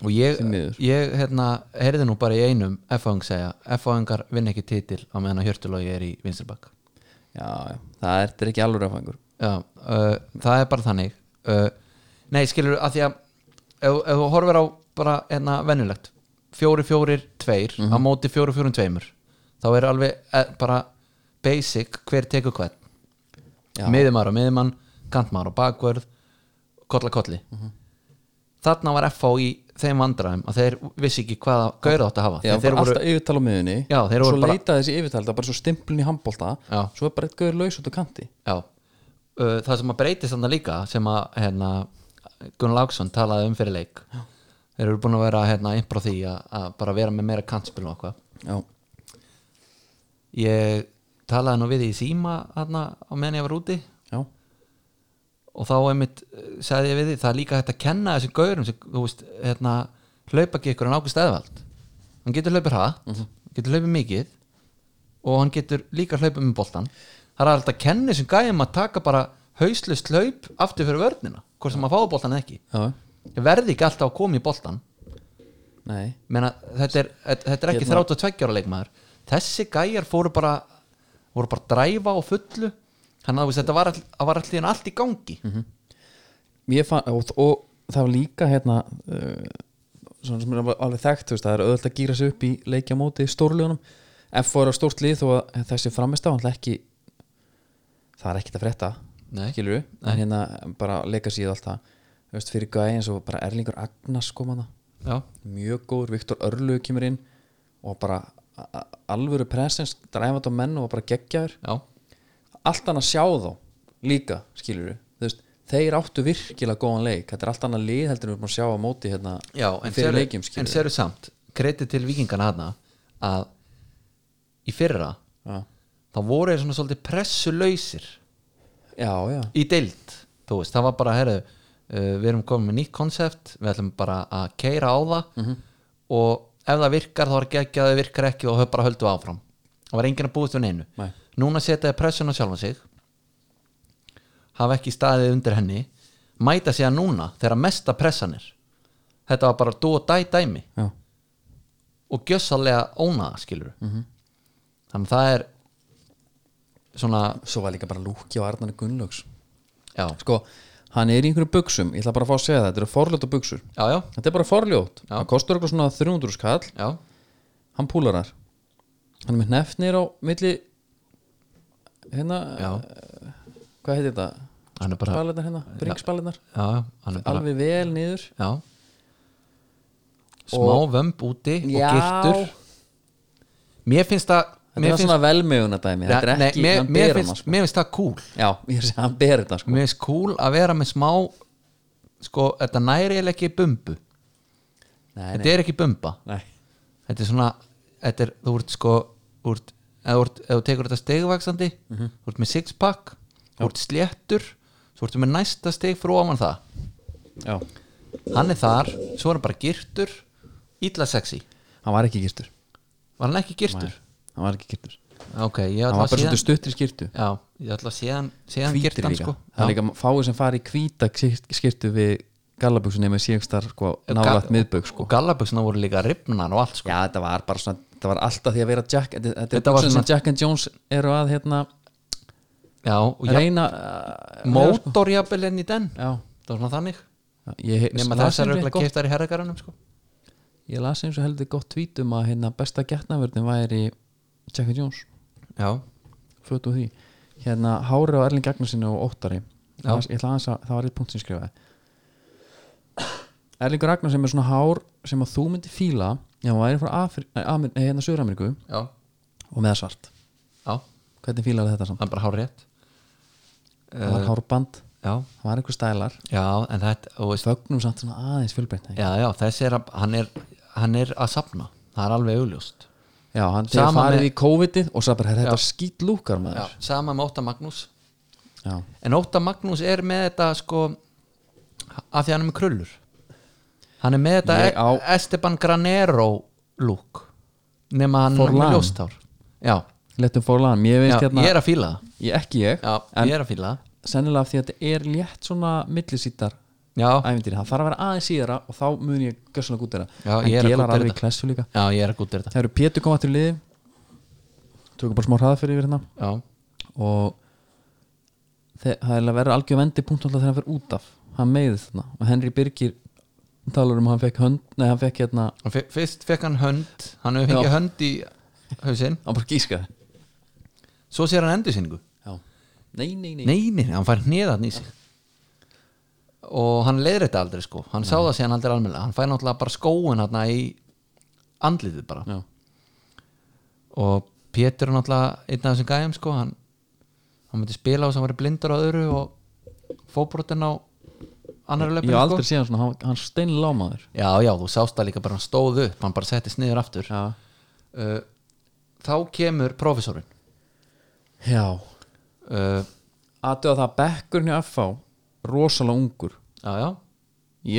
Speaker 2: og ég,
Speaker 1: Því miður.
Speaker 2: ég hérna, heyrði nú bara í einum F-fang segja, F-fangar vinn ekki titil á meðan að Hjörtulógi er í vinstribakk
Speaker 1: já, já, það er, þetta er ekki alveg rafængur
Speaker 2: Já, uh, það er bara þannig uh, Nei, skilur að því að ef, ef þú horfir á bara hérna venjulegt fjóri fjórir tveir á
Speaker 1: Mhm.
Speaker 2: móti fjóri fjórum tveimur þá er alveg eh, bara basic hver tekur hvern
Speaker 1: Já.
Speaker 2: miðumar og miðumann, kantmar og bakvörð kolla kolli
Speaker 1: Mhm.
Speaker 2: þarna var FH í þeim vandræðum að þeir vissi ekki hvaða gauður átt að hafa
Speaker 1: Já,
Speaker 2: Þegar þeir
Speaker 1: bara
Speaker 2: voru,
Speaker 1: alltaf yfirtal á miðunni
Speaker 2: Já, þeir
Speaker 1: Svo
Speaker 2: voru bara-
Speaker 1: leita þessi yfirtal, það er bara svo stimplun í handbólta
Speaker 2: Já.
Speaker 1: Svo er bara eitt gauður laus út á kanti
Speaker 2: Já, uh, það sem að breytist þannig líka sem að hérna, Gunnar Láksson talaði um fyrir leik þeir eru búin að vera hérna, impro því að, að bara vera með meira kantspil og eitthvað
Speaker 1: Já,
Speaker 2: ég talaði nú við í síma hérna, á meðan ég var úti
Speaker 1: já,
Speaker 2: og þá einmitt eh, sagði ég við því það er líka hægt að kenna þessum gaurum sem, þú veist, hérna, hlaupa ekki ykkur en ákvist eðvald hann getur hlaupið hratt getur hlaupið mikið og hann getur líka hlaupið með boltan það er alltaf að kenna þessum gæjum að taka bara hauslust hlaup aftur fyrir vörnina hvort sem að fáið boltan eða ekki
Speaker 1: já,
Speaker 2: Ég verði ekki alltaf að koma í boltan
Speaker 1: nei
Speaker 2: Meina, þetta, er, þetta þetta er ekki
Speaker 1: Hérna.
Speaker 2: 32 ára leikmaður þessi gæjar fóru bara voru bara að dræfa á fullu þannig að þú veist, þetta var all- það var alltaf allt í gangi
Speaker 1: Mér fann, og, og það var líka hérna uh, Svona sem er alveg- alveg þekkt, þú veist Það er auðvitað að gýra sig upp í leikja á móti stórljónum F er á stórt lið þó að þessi framist á hann ekki Það er ekkit að frétta
Speaker 2: Nei.
Speaker 1: Skilur við, en hérna bara leika síð allt það Þú veist, fyrir gæði eins og bara Erlingur Agnars kom hann
Speaker 2: já,
Speaker 1: mjög góður, Viktor Örlug kemur inn og bara a- a- alvöru presens, dræfand á menn og bara geggjaður,
Speaker 2: já
Speaker 1: allt annað sjá þá líka, skilur við þeir áttu virkilega góðan leik þetta er allt annað lið heldur en við erum búin að sjá á móti hérna,
Speaker 2: Já, en
Speaker 1: fyrir
Speaker 2: sérðu-
Speaker 1: leikjum
Speaker 2: En
Speaker 1: skilur við
Speaker 2: séru samt, kreiti til vikingana hana að í fyrra
Speaker 1: já,
Speaker 2: þá voru þeir svona svolítið pressulausir
Speaker 1: já, já,
Speaker 2: í deild, þú veist, það var bara herru, uh, við erum komin með nýtt konsept við ætlum bara að keira á það
Speaker 1: Mhm.
Speaker 2: og ef það virkar þá var ekki ekki að það virkar ekki og höf bara höldu áfram það var enginn að búist við neinu
Speaker 1: Nei.
Speaker 2: núna setja þeir pressuna á sjálfan sig hafa ekki staðið undir henni mæta sig að núna þegar mesta pressanir þetta var bara dú og dæ dæmi
Speaker 1: já,
Speaker 2: og gjössalega ónaða skilur
Speaker 1: Mhm.
Speaker 2: -hmm. þannig að það er svona
Speaker 1: svo var líka bara Lúki og Arnarni Gunnlaugs
Speaker 2: já,
Speaker 1: sko, hann er í einhverju buksum ég ætla bara að fá að segja það, þetta eru forljóta buksur
Speaker 2: já, já,
Speaker 1: þetta er bara forljót,
Speaker 2: Já.
Speaker 1: það kostur eitthvað svona 300 skall
Speaker 2: já,
Speaker 1: hann púlar þar hann er með hnefnir á milli hérna,
Speaker 2: já.
Speaker 1: hvað heitir þetta
Speaker 2: hann er bara
Speaker 1: spalinar hérna, bringsspalinar
Speaker 2: já, já, hann er bara
Speaker 1: alveg vel niður
Speaker 2: já. smá vömb úti og girtur mér finnst það
Speaker 1: þetta
Speaker 2: mér
Speaker 1: er
Speaker 2: finnst,
Speaker 1: svona velmöguna dæmi þetta er
Speaker 2: nei,
Speaker 1: ekki,
Speaker 2: mér,
Speaker 1: hann
Speaker 2: mér,
Speaker 1: ber hann
Speaker 2: finnst,
Speaker 1: sko.
Speaker 2: mér finnst það cool
Speaker 1: já, ég er að segja, hann ber þetta sko
Speaker 2: mér finnst cool að vera með smá sko, þetta næri eða ekki bumbu
Speaker 1: nei, nei,
Speaker 2: þetta er ekki bumba
Speaker 1: nei,
Speaker 2: þetta er svona þetta er, þú ert sko þú ert, eða þú ert, eða þú tekur þetta stegvaksandi
Speaker 1: Mhm.
Speaker 2: þú ert með six pack þú ert sléttur, þú ert með næsta steg frá ofan það,
Speaker 1: já
Speaker 2: hann er þar svo er hann bara girtur illa sexy,
Speaker 1: hann var ekki girtur
Speaker 2: var hann ekki girtur?
Speaker 1: hann var ekki girtur
Speaker 2: ok, ég
Speaker 1: hann
Speaker 2: ætla
Speaker 1: var bara
Speaker 2: að sé hann
Speaker 1: svolítið stuttri skirtu
Speaker 2: já, ég ætla að sé hann sé hann
Speaker 1: hvítir
Speaker 2: girtan
Speaker 1: líka
Speaker 2: sko
Speaker 1: það er
Speaker 2: Já.
Speaker 1: líka fáið sem fari í hvíta skirt- skyrtu við gallabuksunni með síðangstar sko, nálægt miðbögg sko.
Speaker 2: og gallabuxna voru líka ripnar og allt sko
Speaker 1: já þetta var bara svona þetta var alltaf því að vera Jack þetta, þetta,
Speaker 2: Þetta
Speaker 1: þetta
Speaker 2: var
Speaker 1: var
Speaker 2: svona-
Speaker 1: sem Jack and Jones eru að hérna
Speaker 2: já, og uh, já,
Speaker 1: reyna að-
Speaker 2: mótorjabel enn í den
Speaker 1: sko. já
Speaker 2: það var svona þannig
Speaker 1: ég, he-
Speaker 2: nema
Speaker 1: las
Speaker 2: þessar
Speaker 1: einu
Speaker 2: eru ekki
Speaker 1: gott-
Speaker 2: keiftar í herragarunum sko
Speaker 1: ég las eins og heldur gott tweet um að hérna besta getnavörðin væri Jack and Jones
Speaker 2: já,
Speaker 1: föt og því hérna Hári og Erling Agnarsinni og Óttari
Speaker 2: Já.
Speaker 1: Aðeins- ég ætla aðeins að það var eitt punkt sem ég skrifaði Erlingur Agnarsinni er svona hár sem að þú myndir fíla ef hann væri frá Afri, Amer, eh, hérna Suður-Ameríku
Speaker 2: já,
Speaker 1: og með svart
Speaker 2: já það
Speaker 1: hvernig fílar þetta samt?
Speaker 2: er bara hár rétt
Speaker 1: það
Speaker 2: Eh.
Speaker 1: var hárband,
Speaker 2: já,
Speaker 1: það var einhver stælar
Speaker 2: já, en þetta og veist,
Speaker 1: fögnum samt svona aðeins fjölbreytni
Speaker 2: já, já, þessi er að hann er, hann er að sapna það er alveg augljóst
Speaker 1: já, hann þegar
Speaker 2: Sama
Speaker 1: farið
Speaker 2: með-
Speaker 1: í COVID-ið og svo bara "Herra, þetta skýt lúkar
Speaker 2: já.
Speaker 1: maður
Speaker 2: sama með Óta Magnús
Speaker 1: já.
Speaker 2: en Óta Magnús er með þetta sko af því hann er með krullur hann er með þetta
Speaker 1: Ég
Speaker 2: á...
Speaker 1: á-
Speaker 2: Esteban Granero look nema hann er
Speaker 1: Forlan.
Speaker 2: með ljóstár já,
Speaker 1: letum fórlaðan, mér
Speaker 2: já
Speaker 1: veist hérna
Speaker 2: ég er að fíla það
Speaker 1: ég, ekki ég,
Speaker 2: já, ég er að fíla það
Speaker 1: sennilega af því að þetta er létt svona millisítar
Speaker 2: já,
Speaker 1: ævindýri, það þarf að vera aðeins síðara og þá mun ég gössanlega gútera
Speaker 2: Já,
Speaker 1: en
Speaker 2: ég
Speaker 1: gelar
Speaker 2: er að gúddera
Speaker 1: alveg í
Speaker 2: þetta.
Speaker 1: klessu líka
Speaker 2: já, ég er að gútið þetta
Speaker 1: það eru Pétur kom aftur í liði tökum bara smá hraða fyrir yfir hérna
Speaker 2: já,
Speaker 1: og þe- það er að vera algjör vendi punkt alltaf þegar hann fer út af hann meiðist þarna og Henry Birgir talar um að hann fekk hönd nei, hann fekk hérna,
Speaker 2: Og fe- Fyrst fekk hann hönd Hann hefur fengið
Speaker 1: Já.
Speaker 2: hönd í hausinn
Speaker 1: hann bara gískaði
Speaker 2: Svo sér hann endursýningu
Speaker 1: já, nei, nei, nei,
Speaker 2: Nei, nei, nei, hann fær hneðan í sig Og hann leiðir þetta aldrei sko Hann sá það síðan aldrei almennilega Hann fær náttúrulega bara skóin hann í andlitið bara
Speaker 1: Já,
Speaker 2: Og Pétur er náttúrulega einn af þessum gæjum sko Hann, hann myndi spila og sem var blindur á öðru Og fóbrotin á annar
Speaker 1: ég
Speaker 2: löpun
Speaker 1: hef
Speaker 2: sko.
Speaker 1: aldrei séð hann svona, hann- hann steinlámaður
Speaker 2: Já, já, þú sást það líka bara hann stóð upp Hann bara settist niður aftur
Speaker 1: já,
Speaker 2: uh, Þá kemur professorinn
Speaker 1: já.
Speaker 2: uh,
Speaker 1: aðtöða það að bekkurinn í FH rosalega ungur
Speaker 2: Já, já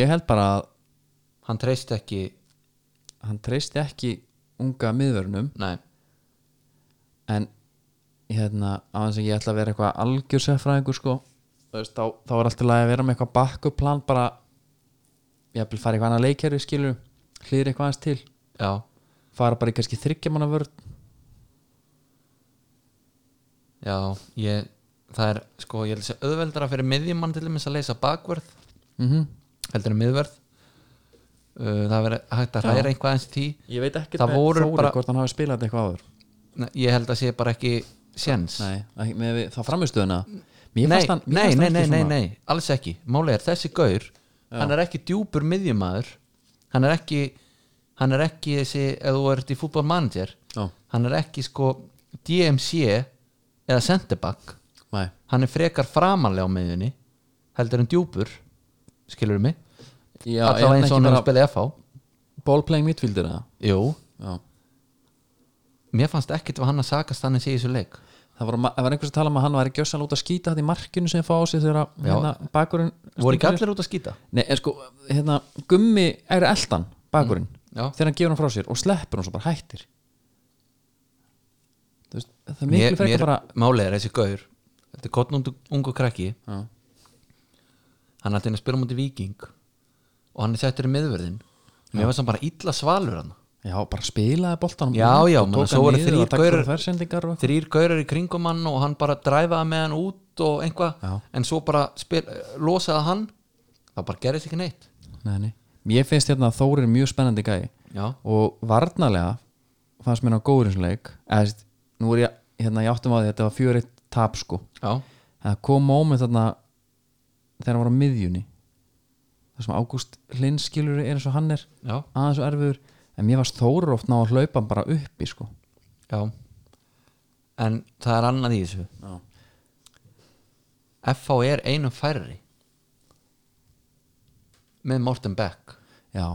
Speaker 1: ég held bara að
Speaker 2: hann treyst ekki
Speaker 1: hann treysti ekki unga miðvörunum
Speaker 2: nei,
Speaker 1: en hérna á þess að ég ætla að vera eitthvað algjörsefræðingur sko þú veist, þá, þá er alltaf að vera með eitthvað backup plan bara ég vil fara í eitthvað annað leikherfi skilur hlýðir eitthvað aðeins til
Speaker 2: já,
Speaker 1: fara bara í kannski þryggjamanna vörð
Speaker 2: já ég, það er sko, ég held að sé auðveldara fyrir miðjumann til þess að leysa bakvörð
Speaker 1: mm
Speaker 2: heldur en miðverð uh, það verið hægt að hræra eitthvað eins því
Speaker 1: ég veit ekki
Speaker 2: Það voru bara-
Speaker 1: hvort hann hafi spilað þetta eitthvað áður
Speaker 2: Nei, ég held að sé bara ekki séns
Speaker 1: nei, ekki- með, við- það framistuðuna mér
Speaker 2: nei,
Speaker 1: fannst hann, mér fannst
Speaker 2: nei, nei,
Speaker 1: hann
Speaker 2: nei,
Speaker 1: ekki
Speaker 2: nei,
Speaker 1: svona-
Speaker 2: nei, alls ekki málið er þessi gaur, hann er ekki djúpur miðjumaður, hann er ekki hann er ekki þessi, ef þú ert í fútbolmanager,
Speaker 1: Já,
Speaker 2: hann er ekki sko DMC eða centerback
Speaker 1: nei.
Speaker 2: hann er frekar framanlega á miðjunni heldur en djúpur skilur mig,
Speaker 1: Já, er
Speaker 2: allavega
Speaker 1: hann
Speaker 2: eins og
Speaker 1: ekki
Speaker 2: hann er
Speaker 1: bara
Speaker 2: að spila í FH
Speaker 1: ball playing midfielder eða?
Speaker 2: Jú,
Speaker 1: Já.
Speaker 2: mér fannst ekkit að hann að sakast þannig sé í þessu leik
Speaker 1: það var, það var einhvers að tala um að hann væri gjössan út að skýta þetta í markinu sem fá á sig þegar að,
Speaker 2: Já.
Speaker 1: hérna, bakurinn
Speaker 2: voru ekki allir út að skýta
Speaker 1: Nei, en sko, hérna, gummi er eldan bakurinn
Speaker 2: Mm, já.
Speaker 1: þegar hann gefur hann frá sér og sleppur hann svo bara hættir Þú veist, það er
Speaker 2: mér,
Speaker 1: miklu
Speaker 2: mér
Speaker 1: frekar bara
Speaker 2: málið er þessi gaur þetta er kottnund ungu krakki
Speaker 1: Já.
Speaker 2: hann ætti henni að spila múti viking og hann er settur í miðverðin mér fannst hann bara illa svalur hann
Speaker 1: Já, bara spilaði boltanum
Speaker 2: Já,
Speaker 1: út
Speaker 2: já,
Speaker 1: og
Speaker 2: menn,
Speaker 1: tók
Speaker 2: svo
Speaker 1: hann
Speaker 2: voru
Speaker 1: niður
Speaker 2: þrír
Speaker 1: og takk
Speaker 2: gaurar-
Speaker 1: fyrir þversendingar og eitthvað.
Speaker 2: þrýr gaurar í kringum hann og hann bara dræfaði með hann út og einhvað,
Speaker 1: Já.
Speaker 2: en svo bara spil, losaði hann það bara gerðist ekki neitt
Speaker 1: Nei, nei. Mér finnst hérna að Þórir er mjög spennandi gæi
Speaker 2: já,
Speaker 1: og varnalega fannst mér hann góður eins og leik eða, þú veist, nú er ég, hérna, ég áttum á því þetta var fjörið tap sko
Speaker 2: já,
Speaker 1: það kom moment þarna þegar hann var á miðjunni það sem Ágúst Hlinskilur er eins og hann er
Speaker 2: já,
Speaker 1: aðeins og erfiður en mér varst Þórir oft ná að hlaupa hann bara uppi sko
Speaker 2: já en það er annað í þessu
Speaker 1: Já.
Speaker 2: FH er einum færri með Morten Beck
Speaker 1: já,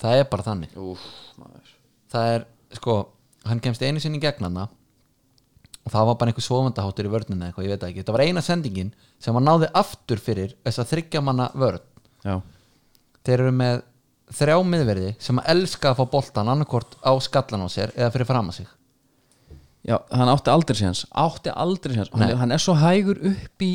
Speaker 2: það er bara þannig
Speaker 1: Úf, maður.
Speaker 2: það er, sko, hann kemst einu sinni í gegn hana og það var bara einhver svofandaháttur í vörninu eða eitthvað, ég veit það ekki þetta var eina sendingin sem hann náði aftur fyrir þess að þryggja manna vörn
Speaker 1: já.
Speaker 2: þeir eru með þrjá miðverði sem að elska að fá boltan annarkort á skallan á sér eða fyrir fram að sig
Speaker 1: Já, hann átti aldrei séns átti aldrei séns, hann, hann er svo hægur upp í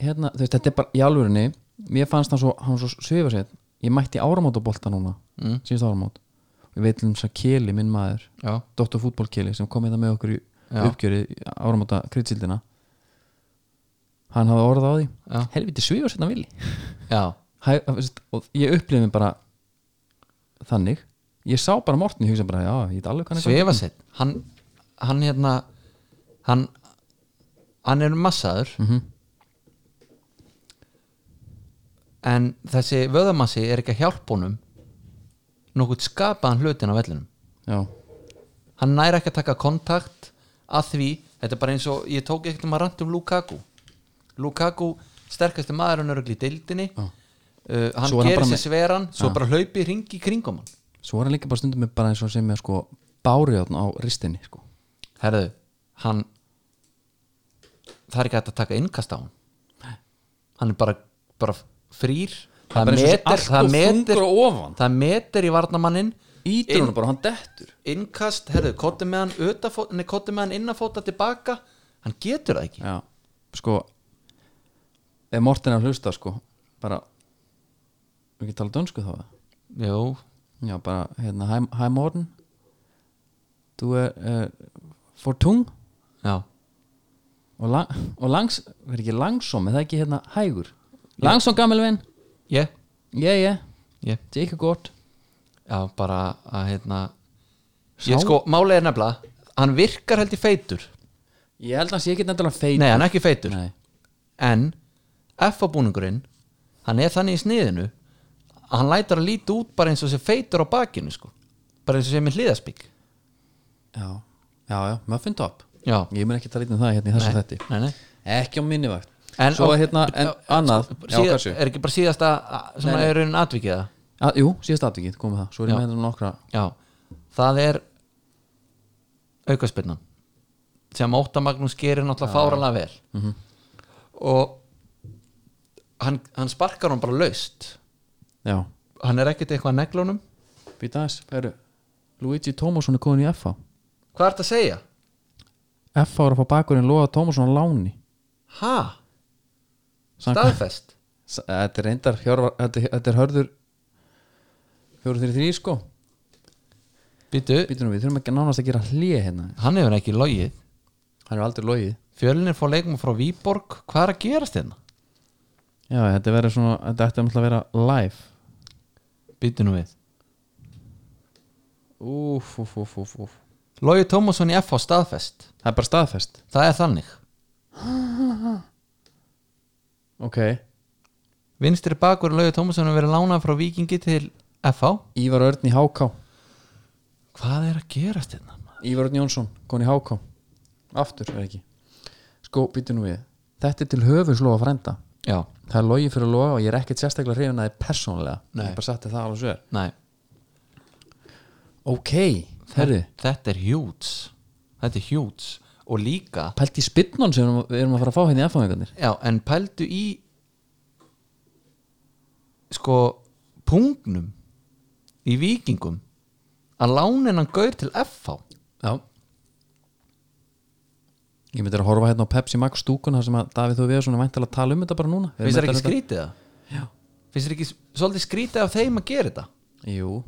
Speaker 1: hérna, þú veist, þetta er bara í alvörinni, mér fannst hann svo hann svo svifa sér, ég mætti áramótabolta núna, mm. síðust áramót og ég veit um þess að Keli, minn maður
Speaker 2: Já,
Speaker 1: Dr. Fútbol Keli sem kom hérna með okkur í
Speaker 2: Já.
Speaker 1: uppgjöri áramóta kryddsildina hann hafði orðað á því
Speaker 2: Já.
Speaker 1: helviti svifa sér hann vilji
Speaker 2: já,
Speaker 1: Hæ, þú veist, og ég upplifði mig bara þannig, ég sá bara Morten í hugsa bara, já, ég veit alveg hvað hann er
Speaker 2: svefa sitt hann, hann hérna hann, hann er massaður
Speaker 1: Mhm.
Speaker 2: en þessi vöðamassi er ekki að hjálpa honum nokkuð skapaðan hlutin á vellinum
Speaker 1: já,
Speaker 2: hann næri ekki að taka kontakt að því, þetta er bara eins og ég tók ekkert um að ranta um Lukaku Lukaku, sterkasti maður hann örugli í deildinni uh, hann
Speaker 1: Svo er hann
Speaker 2: gerir
Speaker 1: bara
Speaker 2: sér
Speaker 1: með-
Speaker 2: sveran svo bara hlaupi ringi kringum hann
Speaker 1: svo er hann líka bara stundum með bara eins og sem með sko báriðan á ristinni sko.
Speaker 2: herðu, hann það er ekki hægt að taka innkast á hann hann er bara, bara frýr
Speaker 1: Það er bara eins og
Speaker 2: meter,
Speaker 1: sé allt
Speaker 2: það
Speaker 1: of
Speaker 2: meter,
Speaker 1: þungur á ofan.
Speaker 2: það meter í varnamannin
Speaker 1: ítur hann bara, hann dettur
Speaker 2: innkast, herðu, kotti með hann utafót, nei, kotti með hann innafóta tilbaka hann getur það ekki
Speaker 1: já, sko ef Morten er að hlusta sko bara við getum talað dönsku þá eða?
Speaker 2: Jú,
Speaker 1: já, bara, hérna, hæ, hæ Morten þú er uh, for tung
Speaker 2: já,
Speaker 1: og, lang, og langs, verður ekki langsom er það ekki hérna hægur langsom gammelvin,
Speaker 2: ég,
Speaker 1: já, já
Speaker 2: ég
Speaker 1: þetta er ekki gott
Speaker 2: Já, bara að hérna
Speaker 1: Sá-
Speaker 2: Ég sko, málið er nefnilega Hann virkar held í feitur
Speaker 1: ég held að hans ég get endalega feit
Speaker 2: Nei, hann er ekki feitur
Speaker 1: Nei.
Speaker 2: En F-búningurinn Hann er þannig í sniðinu að Hann lætur að líti út bara eins og sé feitur á bakinu sko Bara eins og sé með hliðaspík
Speaker 1: já, já, já, muffin top
Speaker 2: Já,
Speaker 1: ég mun ekki tala lítið um það hérna í þessu þætti
Speaker 2: nei, nei
Speaker 1: ekki á minni vakt
Speaker 2: En-
Speaker 1: svo hérna, en annað já,
Speaker 2: Síða,
Speaker 1: hversu?
Speaker 2: Er ekki bara síðasta a- sem er raunin atvikið það
Speaker 1: að, jú, síðast atvikið, komið það svo er ég
Speaker 2: Já.
Speaker 1: með hérna nokkra
Speaker 2: Já, það er aukaspinnan sem Óttar Magnús gerir náttúrulega fáranlega vel
Speaker 1: Mhm.
Speaker 2: og hann, hann sparkar hann bara laust
Speaker 1: já,
Speaker 2: hann er ekkert eitthvað að neglunum
Speaker 1: býta þess, færu Luigi Tómasson er komin í FH
Speaker 2: hvað ertu að segja?
Speaker 1: FH er að fá bakurinn Lóa Tómasson á láni
Speaker 2: Ha?
Speaker 1: Samkvæmt-
Speaker 2: Staðfest?
Speaker 1: S- þetta er reyndar, hjörvar, þetta, er- þetta er hörður 4-3-3 sko
Speaker 2: Býtu,
Speaker 1: býtum við, þurfum ekki nánast að gera hlið hérna
Speaker 2: hann hefur ekki logið
Speaker 1: hann er aldrei logið
Speaker 2: Fjölin er fór leikum frá Víborg hvað er að gerast hérna?
Speaker 1: já, þetta verður svona, þetta ætti náttúrulega að vera live
Speaker 2: Býtu nú við
Speaker 1: úf, úf, úf, úf, úf
Speaker 2: Logið Tómasson í FH staðfest
Speaker 1: það er bara staðfest
Speaker 2: það er þannig
Speaker 1: ok,
Speaker 2: Vinstri bakur Logið Tómasson hefur verið lánað frá Víkingi til FH
Speaker 1: Ívar Örn í HK
Speaker 2: hvað er að gerast hérna? maður?
Speaker 1: Ívar Örn Jónsson, koni HK aftur er ekki sko, býtu nú við, þetta er til höfus lofa frænda,
Speaker 2: Já,
Speaker 1: það er logi fyrir loga og ég er ekkert sérstaklega hrifin að þið persónulega
Speaker 2: Nei.
Speaker 1: ég bara setti það alveg sér
Speaker 2: nei
Speaker 1: ok, herri,
Speaker 2: Þetta er hjúts Þetta er hjúts Og líka
Speaker 1: pælt í spinnun sem við erum- við erum að fara að fá hérna í aðfáðingarnir
Speaker 2: Já, en pældu í Sko Pungnum Í vikingum Að lánin hann gaur til FH
Speaker 1: já ég myndi að horfa hérna á Pepsi Max stúkuna sem að Davíð Þóð Viðarsson er væntalega að tala um þetta bara núna Við erum
Speaker 2: Finnst þér ekki
Speaker 1: væntanlega-
Speaker 2: skrítið það? Já Finnst þér ekki s- svolítið skrítið af þeim að gera þetta?
Speaker 1: Jú,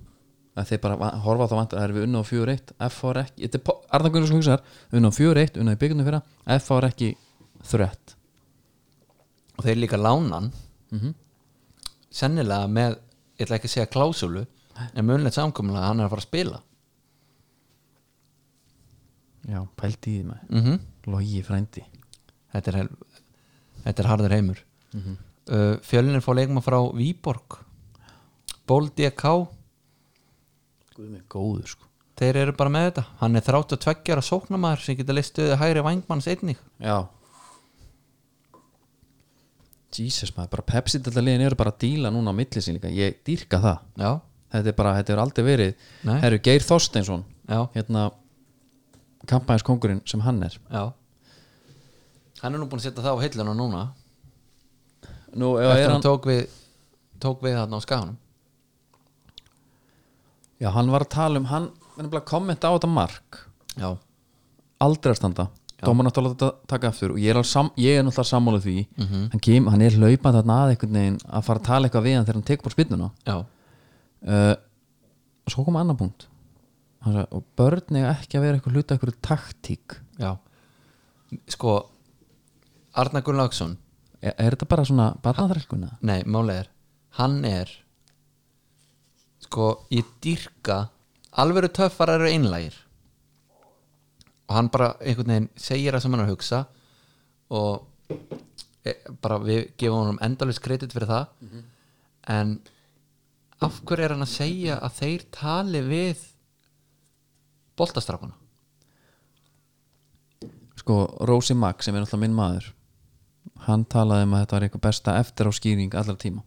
Speaker 1: að þeir bara va- horfa þá vantur, það er við unna á 4-1 FH er ekki, þetta er po- Arnar Gunnarsson hugsaðar unna á 4-1, unna í byggjunum fyrra FH er ekki þrött
Speaker 2: Og þeir líka lánan mm Sennilega með Ég ætla ekki að segja klásulu En munlegt samkomulega að hann er að fara að spila
Speaker 1: Já, pælt í því með
Speaker 2: mm
Speaker 1: Logi frændi
Speaker 2: þetta er, hel- þetta er harður heimur mm -hmm. uh, fjölin er fór leikma frá Víborg Ból DK
Speaker 1: Guðmið góður sko
Speaker 2: þeir eru bara með þetta hann er 32 ára sóknamaður sem geta listuðið hægri vangmanns einnig
Speaker 1: Já Jesus maður, bara Pepsi þetta liðin eru bara að díla núna á milli sín líka, ég dýrka það
Speaker 2: já,
Speaker 1: Þetta er bara, þetta er aldrei verið
Speaker 2: Nei.
Speaker 1: Herru, Geir Þorsteinsson
Speaker 2: já,
Speaker 1: hérna kampænskongurinn sem hann er
Speaker 2: já hann er nú búin að setja það á hilluna núna
Speaker 1: Nú, ef
Speaker 2: eftir
Speaker 1: er
Speaker 2: hann,
Speaker 1: hann,
Speaker 2: tók við tók við þarna á skaganum
Speaker 1: já, hann var að tala um hann hann er bara að kommenta á þetta mark
Speaker 2: já,
Speaker 1: aldrei að standa Dómar náttúrulega þetta taka aftur og ég er, alveg sam, ég er náttúrulega sammálið því
Speaker 2: Mhm.
Speaker 1: hann, kem, hann er hlaupað þarna að einhvern veginn að fara að tala eitthvað við hann þegar hann tekur bara spinnuna
Speaker 2: já,
Speaker 1: uh, og svo kom annar punkt hann sagði, og börn eiga ekki að vera eitthvað hluta eitthvað taktík
Speaker 2: já sko Arna Gunnlaugsson
Speaker 1: er, er þetta bara svona barnaþrælkuna?
Speaker 2: Nei, málega er Hann er Sko, ég dýrka Alvöru töffar eru einlægir Og hann bara einhvern veginn segir það sem hann er að hugsa Og e, bara við gefum honum endalist kredit fyrir það En af hverju er hann að segja að þeir tali við boltastrákuna?
Speaker 1: sko, Rósi Mack sem er náttúrulega minn maður hann talaði um að þetta var eitthvað besta eftir á skýring allra tíma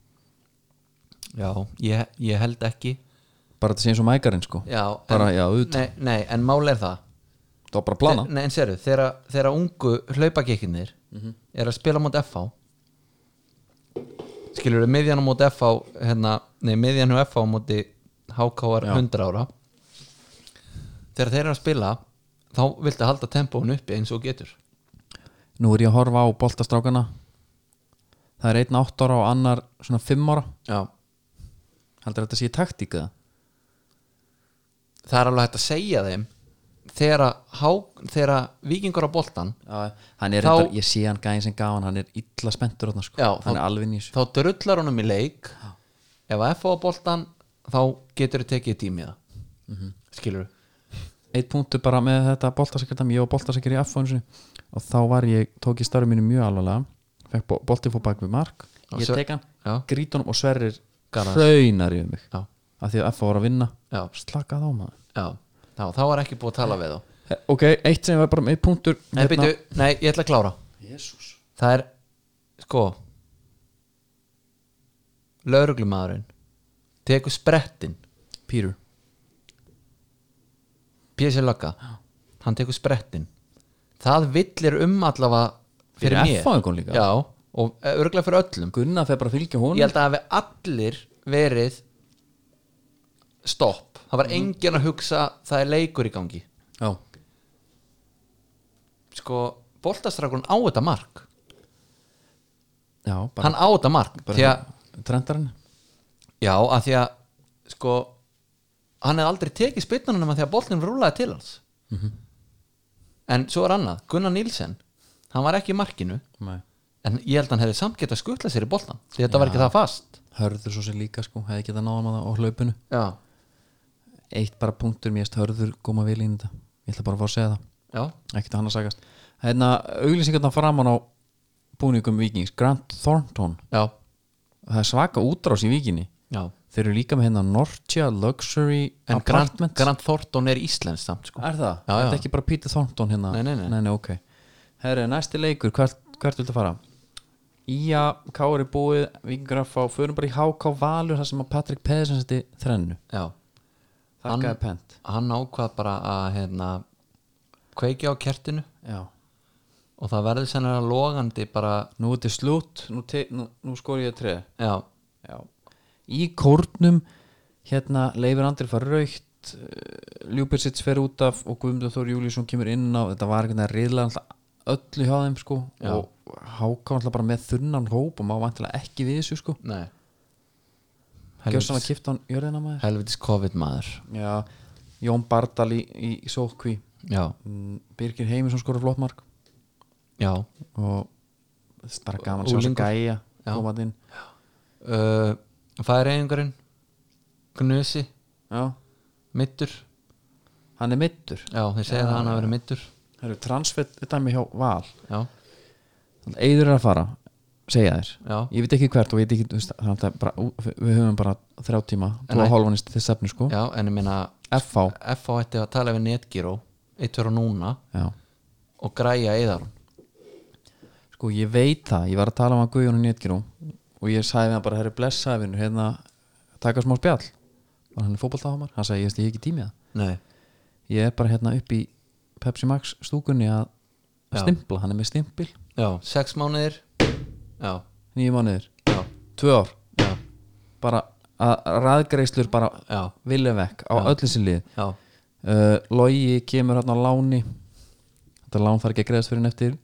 Speaker 2: Já, ég, ég held ekki
Speaker 1: bara þetta sé eins og mækarinn sko
Speaker 2: Já,
Speaker 1: bara,
Speaker 2: en,
Speaker 1: já, auðvitað,
Speaker 2: nei, nei, en málega er það
Speaker 1: það var bara að plana
Speaker 2: Nei, en sérðu, þegar, þegar ungu hlaupakikkinir er að spila mót FH skilur við miðjan á mót FH hérna, nei, miðjan á FH á móti HKR 100 ára þegar þeir eru að spila þá viltu halda tempónu uppi eins og þú getur
Speaker 1: nú er ég að horfa á boltastrákana það er einn átt ára og annar svona fimm ára
Speaker 2: Já.
Speaker 1: heldur þetta sé taktík eða?
Speaker 2: það er alveg hægt að segja þeim þegar, að H- þegar að vikingur á boltan
Speaker 1: hann er
Speaker 2: Þá-
Speaker 1: reyndar, ég sé hann gæðin sem gaf hann hann er illa spenntur þarna sko,
Speaker 2: Já,
Speaker 1: hann
Speaker 2: þá-
Speaker 1: er alveg nýs
Speaker 2: þá drullar honum í leik ef að FH á boltan þá getur þau tekið tímið mm -hmm. skilur við
Speaker 1: eitt punktu bara með þetta boltasekretam ég var boltasekret í F-fónsu og þá var ég, tók ég starfum mínu mjög alvarlega fekk bo- bolti fór bak við mark
Speaker 2: Og
Speaker 1: ég
Speaker 2: Sve-
Speaker 1: tek hann,
Speaker 2: Já.
Speaker 1: grít honum og sverrir
Speaker 2: Garðars.
Speaker 1: hraunar yfir mig
Speaker 2: Já.
Speaker 1: af því að F var að vinna,
Speaker 2: Já,
Speaker 1: slakað á maður
Speaker 2: já, já, þá var ekki búið að tala við þá
Speaker 1: Eh, ok, eitt sem var bara með eitt punktur hérna,
Speaker 2: Nei, byrju, nei, ég ætla að klára
Speaker 1: Jesus.
Speaker 2: Það er, sko Löruglumadurinn Tekur sprettin
Speaker 1: Peter
Speaker 2: P.S. Lagga, hann tekur sprettin Það villir um allavega Fyrir,
Speaker 1: Fyrir
Speaker 2: mér
Speaker 1: FH-ingum líka?
Speaker 2: Já, og örglega fyrir öllum
Speaker 1: Gunnar fer bara að fylgja honum
Speaker 2: Ég held að hafi allir verið Stopp Það var enginn að hugsa Það er leikur í gangi
Speaker 1: Já.
Speaker 2: Sko, boltastrakun á þetta mark
Speaker 1: Já, bara,
Speaker 2: Hann á þetta mark Því að
Speaker 1: bara hérna. trendarinn
Speaker 2: Já, að því að sko, hann hefði aldrei tekið spytnunum nema því að boltin rúlaði til hans
Speaker 1: Mhm.
Speaker 2: en svo er annað Gunnar Nílsen, hann var ekki í markinu
Speaker 1: Nei.
Speaker 2: en ég held að hann hefði samt getað skutlað sér í boltan því þetta var ekki það fast
Speaker 1: Hörður svo sem líka sko, hefði getað náðum að það á hlaupinu
Speaker 2: Já,
Speaker 1: Eitt bara punktur, mér erst hörður koma vel inn í þetta Ég ætla bara að fá að segja það
Speaker 2: já,
Speaker 1: Ekkert að hann að sagast Hérna, auglýsingarna framan á búningum vikings Grant Thornton
Speaker 2: já,
Speaker 1: Það er svaka útrás í vikinni
Speaker 2: já.
Speaker 1: Þeir eru líka með hérna Nortia Luxury
Speaker 2: en Grant,
Speaker 1: Apartments
Speaker 2: Grant Thornton er íslensk samt sko.
Speaker 1: Er það?
Speaker 2: Já,
Speaker 1: Er
Speaker 2: já.
Speaker 1: þetta ekki bara Peter Thornton hérna?
Speaker 2: Nei, nei, nei.
Speaker 1: nei, ok Herri, næsti leikur, hvert, hvert viltu fara? Ía, Kári búið, Vingur að fá Förum bara í HK Valur þar sem að Patrick Pedersen seti þrennu
Speaker 2: Já,
Speaker 1: Þakkaði pent
Speaker 2: hann ákvað bara að hérna, kveiki á kertinu
Speaker 1: Já
Speaker 2: og það verður sennilega logandi bara,
Speaker 1: Nú er þetta slút, nú, te- nú, nú skori ég treð
Speaker 2: já,
Speaker 1: Já Í kórnum, hérna Leifur Andri fara raukt Ljúpersits fer út af og Guðmundur Þór Júlíusson kemur inn á Þetta var einhvern veginn að riðla alltaf öllu hjá þeim sko
Speaker 2: Já.
Speaker 1: og háká alltaf bara með þunnan hóp og má vantilega ekki við þessu sko
Speaker 2: nei
Speaker 1: Gjössan að kipta hann jörðina maður
Speaker 2: helvitis COVID maður
Speaker 1: Já, Jón Bardal í, í, í sótkví
Speaker 2: já,
Speaker 1: Mm, Birgir Heimisson skora flott mark
Speaker 2: já
Speaker 1: og þetta er bara gaman að sjá þess að
Speaker 2: Unglingur.
Speaker 1: gæja
Speaker 2: Já.
Speaker 1: koma þarna inn.
Speaker 2: uh, færiðingurinn Gnusi,
Speaker 1: Já,
Speaker 2: mittur
Speaker 1: hann er middur
Speaker 2: já, þeir segja það að hann hafi verið mittur
Speaker 1: Það eru transfett dæmi hjá Val
Speaker 2: já,
Speaker 1: Eður er að fara, segja þér
Speaker 2: já,
Speaker 1: Ég veit ekki hvert og ég veit ekki þú veist, þannig að það er bara, ú- við- Við höfum bara þrjá tíma Þú að
Speaker 2: nei.
Speaker 1: hálfanist til stefnu sko
Speaker 2: já en ég meina
Speaker 1: FH,
Speaker 2: FH ætti að tala við Netgyro eitt verður núna
Speaker 1: já
Speaker 2: og græja eðar
Speaker 1: Sko ég veit það, ég var að tala um að Guðjónu Nétgirú og ég sagði við hann bara herri blessaði vinnur, hérna taka smá spjall og hann er fótboltahamar, hann sagði ég veist ég hef ekki tími í það
Speaker 2: nei,
Speaker 1: ég er bara hérna upp í Pepsi Max stúkunni að
Speaker 2: Já.
Speaker 1: stimpla, hann er með stimpil
Speaker 2: já, sex mánuðir já,
Speaker 1: nýju mánuðir,
Speaker 2: já,
Speaker 1: tvö ár
Speaker 2: já
Speaker 1: bara að raðgreislur bara
Speaker 2: já,
Speaker 1: vilja vekk á öllu sér lið
Speaker 2: já,
Speaker 1: uh, Logi kemur hérna á láni þetta lán þarf ekki að greiðast fyrir en eftir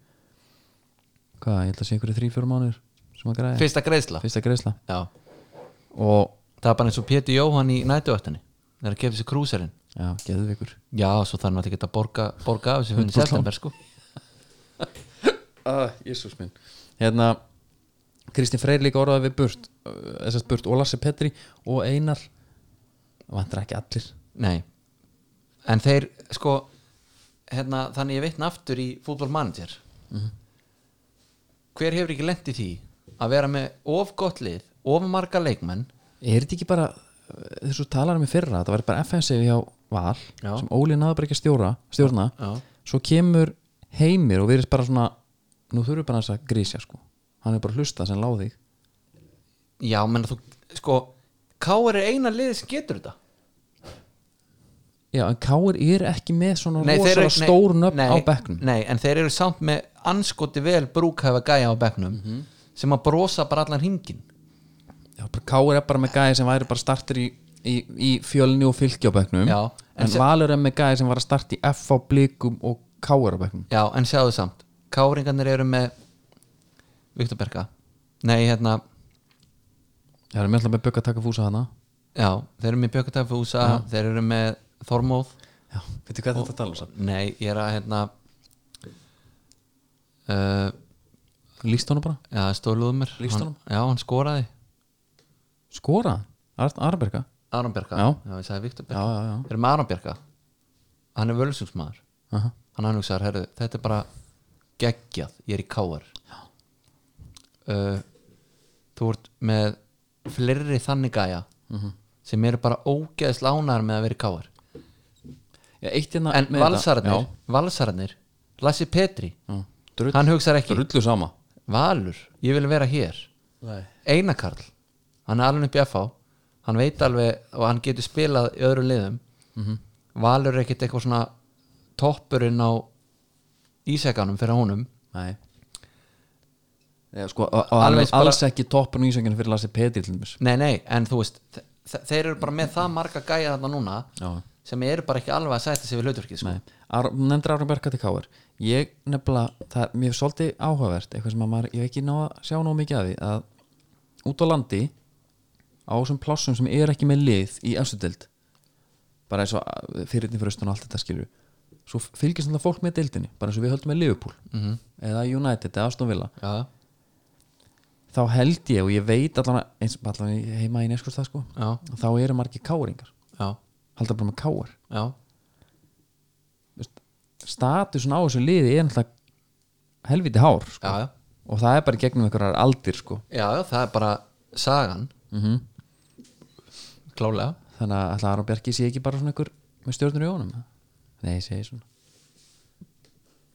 Speaker 1: hvað, ég held að sé einhverju þrý, fjórum mánir sem að greiða,
Speaker 2: fyrsta greiðsla
Speaker 1: fyrsta greiðsla
Speaker 2: já,
Speaker 1: og,
Speaker 2: það er bara eins og Pétur Jóhann í nætuvættinni þegar að kefa sér krúserinn
Speaker 1: já, geðvikur
Speaker 2: já, svo þannig að það geta borga, borga af þessu fyrir september sko
Speaker 1: ah, Jésús minn hérna, Kristín Freyr líka orðaði við Burt uh, þessast Burt og Lassi Petri og Einar vantar ekki allir
Speaker 2: nei, en þeir sko, hérna þannig ég veitna aftur í fútbolmanager
Speaker 1: Mhm.
Speaker 2: hver hefur ekki lent í því að vera með of gott lið of marga leikmenn
Speaker 1: er þetta ekki bara, uh, þessu talarum í fyrra þetta var bara FNC hjá Val
Speaker 2: Já.
Speaker 1: sem Óli náður bara ekki að stjóra, stjórna
Speaker 2: já,
Speaker 1: svo kemur heimir og verðist bara svona nú þurfum við bara þess að grísja sko hann er bara að hlusta sem láði
Speaker 2: já menn þú, sko Káar er eina liðið sem getur þetta
Speaker 1: já en Káir er ekki með svona rosalega stór nöfn á bekknum
Speaker 2: nei, en þeir eru samt með anskoti vel brúkhæfa gæja á bekknum
Speaker 1: Mhm.
Speaker 2: sem að brosa bara allan hringin
Speaker 1: Já, bara Káir er bara með gæði sem væri bara startur í, í, í fjölni og fylki á bekknum
Speaker 2: Já, en
Speaker 1: en, Valur er með gæði sem var að starta í F á blikum og Káir á bekknum
Speaker 2: já, en sjáðu samt Káringarnir eru með Viktor Berga nei, hérna,
Speaker 1: já, það er mjög alltaf með bökk að taka fúsa hana
Speaker 2: já, þeir eru með Bjökkatafúsa þeir eru með Þormóð
Speaker 1: já, veitir hvað þetta tala um
Speaker 2: nei, ég er að hérna uh,
Speaker 1: líst honum bara,
Speaker 2: já, stóluðu mér
Speaker 1: Lýstu
Speaker 2: Hann- já, hann skoraði
Speaker 1: skora, Ar Arberga
Speaker 2: Aron Björka,
Speaker 1: Já.
Speaker 2: ég sagði Viktor
Speaker 1: já,
Speaker 2: Björka
Speaker 1: já, já
Speaker 2: Þeir eru með Aron Björka Hann er völsungsmaður
Speaker 1: Aha.
Speaker 2: Hann hann hugsaðar, herðu, þetta er bara geggjað, ég er í káar uh, Þú ert með fleiri þannig gæja sem eru bara ógeðslega ánægðar með að vera í káar
Speaker 1: já, eitt hérna
Speaker 2: En
Speaker 1: með
Speaker 2: valsararnir,
Speaker 1: þetta-
Speaker 2: valsararnir Lassi Petri,
Speaker 1: já, já, drull,
Speaker 2: hann hugsaðar ekki
Speaker 1: drullu sama
Speaker 2: Valur, ég vil vera hér
Speaker 1: Nei.
Speaker 2: Einar Karl hann er alveg upp í FH hann veit alveg og hann getur spilað í öðrum liðum
Speaker 1: Mhm.
Speaker 2: Valur er ekkert eitthvað svona toppurinn á ísekanum fyrir honum
Speaker 1: Nei Já, sko, og, og
Speaker 2: Alveg
Speaker 1: alveg
Speaker 2: eins bara-
Speaker 1: alls ekki toppun ísönginu fyrir Lassi Petri til dæmis
Speaker 2: nei nei en þú veist þe- þeir eru bara með það marga gæja þarna núna
Speaker 1: Já.
Speaker 2: sem eru bara ekki alveg að sæta sig við hlutverkið sko.
Speaker 1: Nei, Ar- þú nefndir Arnum Berka til Káir ég nefnilega, það er mér svolítið áhugavert eitthvað sem að maður, ég hef ekki ná að sjá nóg mikið af því að út á landi á þessum plássum sem er ekki með lið í efstudild bara eins og fyrirni fyrir austan og allt þetta skilur svo fylgist þetta fólk með dildinni bara eins og við höldum með Liverpool -hmm. eða United eða Aston Villa
Speaker 2: já,
Speaker 1: þá held ég og ég veit allan eins og allan í- heima í neskurs það sko
Speaker 2: já,
Speaker 1: þá eru margir káringar
Speaker 2: já,
Speaker 1: halda bara með káar
Speaker 2: já,
Speaker 1: statusun á þessu liði er náttúrulega helviti hár sko.
Speaker 2: já, já,
Speaker 1: og það er bara í gegnum einhverjar aldir sko. Mhm.
Speaker 2: já, já það er bara sagan mm -hmm. klálega
Speaker 1: þannig að ætla Aron Bjarki sé ekki bara svona einhver með stjórnur í honum nei, ég segi svona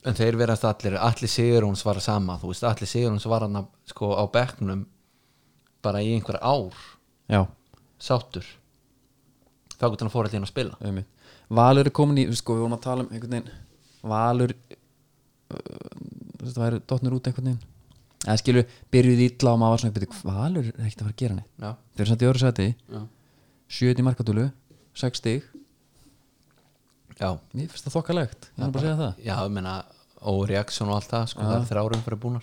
Speaker 2: En þeir verðast allir, allir Sigurjóns var sama þú veist, allir Sigurjóns var hann sko á bekknum bara í einhver ár
Speaker 1: já,
Speaker 2: sáttur þá getur hann fór allir inn að spila
Speaker 1: auðvitað Valur er komin í, sko við vorum að tala um einhvern veginn Valur uh, þetta væri dottnur út einhvern veginn eða skilu, byrjuði illa og maður var svona byrju, Valur er ekkert að fara að gera neitt
Speaker 2: Já,
Speaker 1: þeir eru samt í öðru sæti,
Speaker 2: já,
Speaker 1: 7 í markatölu 6 stig,
Speaker 2: já,
Speaker 1: mér finnst það þokkalegt ég er bara að segja það
Speaker 2: já ég meina og reaksjón og allt það, sko, það er þrjárum fyrir búnar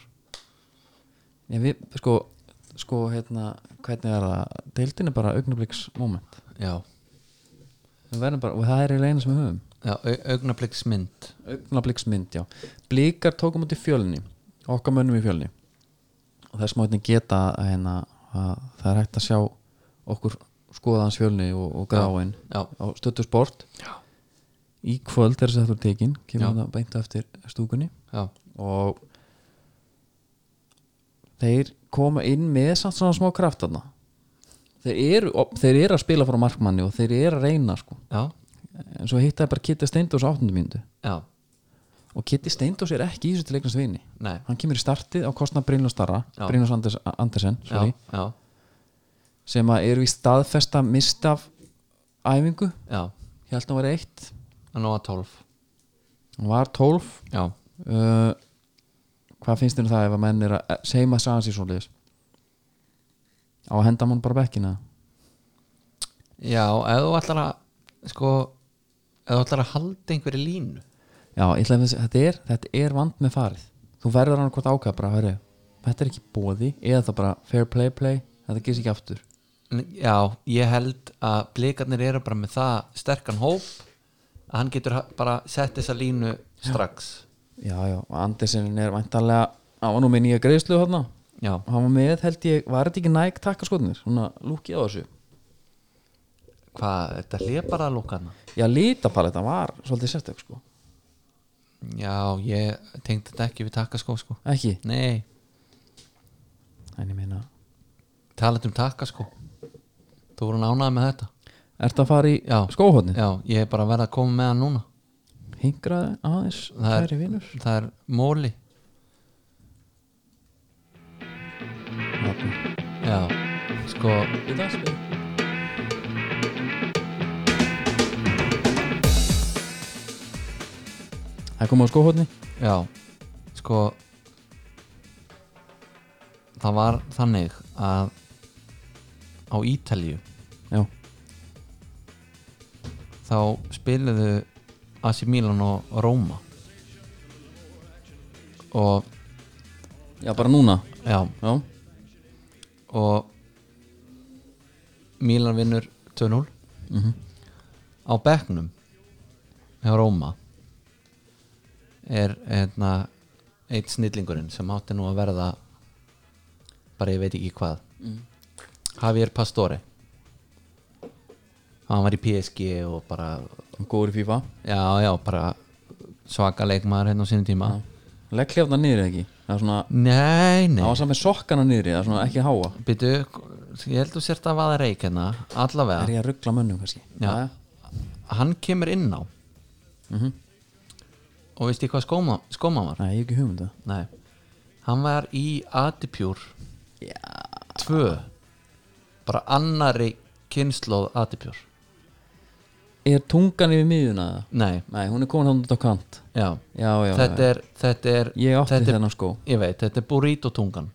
Speaker 1: Ég, við, sko, sko hérna, hvernig er það deildin er bara augnabliks moment
Speaker 2: Já,
Speaker 1: Við verðum bara, og það er eiginlega eina sem við höfum
Speaker 2: já, au- augnabliksmynd
Speaker 1: augnabliksmynd, já blíkar tókum út í fjölni okkar mönnum í fjölni og þess má einnig geta að, hérna, að það er hægt að sjá okkur skoðans fjölni og, og gráin
Speaker 2: Já,
Speaker 1: á stöttu sport
Speaker 2: Já.
Speaker 1: í kvöld er þess aftur tekin kemur það beintu eftir stúkunni
Speaker 2: já,
Speaker 1: og þeir koma inn með samt svona smá kraft þarna þeir eru, og, þeir eru að spila frá markmanni og þeir eru að reyna sko
Speaker 2: já,
Speaker 1: en svo hittaði bara Kitty Steindós á 8. mínútu
Speaker 2: já,
Speaker 1: og Kitty Steindós er ekki í þessu til eignast vini
Speaker 2: nei
Speaker 1: hann kemur í startið á kostna Brynljós Starra
Speaker 2: Já.
Speaker 1: Brynljós Anders, Andersen
Speaker 2: Já,
Speaker 1: sorry,
Speaker 2: já,
Speaker 1: sem að eru í staðfesta mistaf æfingu
Speaker 2: já,
Speaker 1: ég held að hann var eitt
Speaker 2: hann var tólf
Speaker 1: hann var 12
Speaker 2: Já,
Speaker 1: uh, hvað finnst þér um það ef að menn er að seima sagan sér svoleiðis á að henda mann bara bekkina
Speaker 2: Já, ef þú ætlar að sko, ef þú ætlar að halda einhverju línu
Speaker 1: Já, ég ætla að þessi, þetta er, þetta er vand með farið Þú verður hann hvort ákvað bara, hörru Þetta er ekki bóði, eða það bara fair play play, þetta gerist ekki aftur
Speaker 2: N- Já, ég held að blikarnir eru bara með það sterkan hóp að hann getur ha- bara sett þessa línu strax
Speaker 1: Já, já, og Andersen er væntanlega hann var nú með nýja greiðslu þarna
Speaker 2: Já,
Speaker 1: Hann var með, held ég, var þetta ekki næg takkaskotnir Svona lúkið á þessu
Speaker 2: hvað, þetta hlið bara að lúka hana
Speaker 1: Já, lítapaletta var svolítið sérstök, sko
Speaker 2: Já, ég tengdi þetta ekki við takkaskó sko
Speaker 1: Ekki,
Speaker 2: Nei,
Speaker 1: en ég meina
Speaker 2: talandi um takkaskó Þú voru nánaði með þetta
Speaker 1: Ertu að fara í
Speaker 2: Já.
Speaker 1: skóhóðnið?
Speaker 2: Já, ég er bara að verða að koma með hann núna
Speaker 1: Hingraði aðeins,
Speaker 2: Það er-
Speaker 1: kæri vinur
Speaker 2: Það er móli Já, sko
Speaker 1: Í dagspil Það kom á skóhóðni
Speaker 2: Já, sko Það var þannig að á Ítalíu
Speaker 1: Já,
Speaker 2: þá spiluðu AC Milan og Róma og
Speaker 1: já bara núna
Speaker 2: já,
Speaker 1: Já,
Speaker 2: og Milan vinnur 2-0
Speaker 1: Mhm.
Speaker 2: á bekknum hjá Róma er hérna eitt snillingurinn sem átti nú að verða bara ég veit ekki hvað Javier Pastore hann var í PSG og bara
Speaker 1: góður í FIFA
Speaker 2: já já bara svaka leikmaður hérna á sínum tíma
Speaker 1: Legg hljáfna niður eða ekki Það er svona,
Speaker 2: nei nei
Speaker 1: það var saman með sokkana niður Það er svona ekki háa
Speaker 2: Býtu, ég held þú sért að vaða reik hérna Allavega,
Speaker 1: Er ég að ruggla mönnum kannski?
Speaker 2: Já. hann kemur inn á
Speaker 1: Mhm.
Speaker 2: Og veistu hvað skóma, skóma var?
Speaker 1: Nei, ég hef ekki um. hugmynda
Speaker 2: Nei Hann var í Adipjúr
Speaker 1: Já,
Speaker 2: 2 Bara annari kynnslóð Adipjúr
Speaker 1: er tungan yfir miðuna það?
Speaker 2: Nei,
Speaker 1: Nei, hún er komin hann út á kant
Speaker 2: já,
Speaker 1: Já, já,
Speaker 2: þetta,
Speaker 1: já.
Speaker 2: Er, þetta er
Speaker 1: Ég átti
Speaker 2: þetta er,
Speaker 1: þennan skó
Speaker 2: Ég veit, þetta er burrito-tungan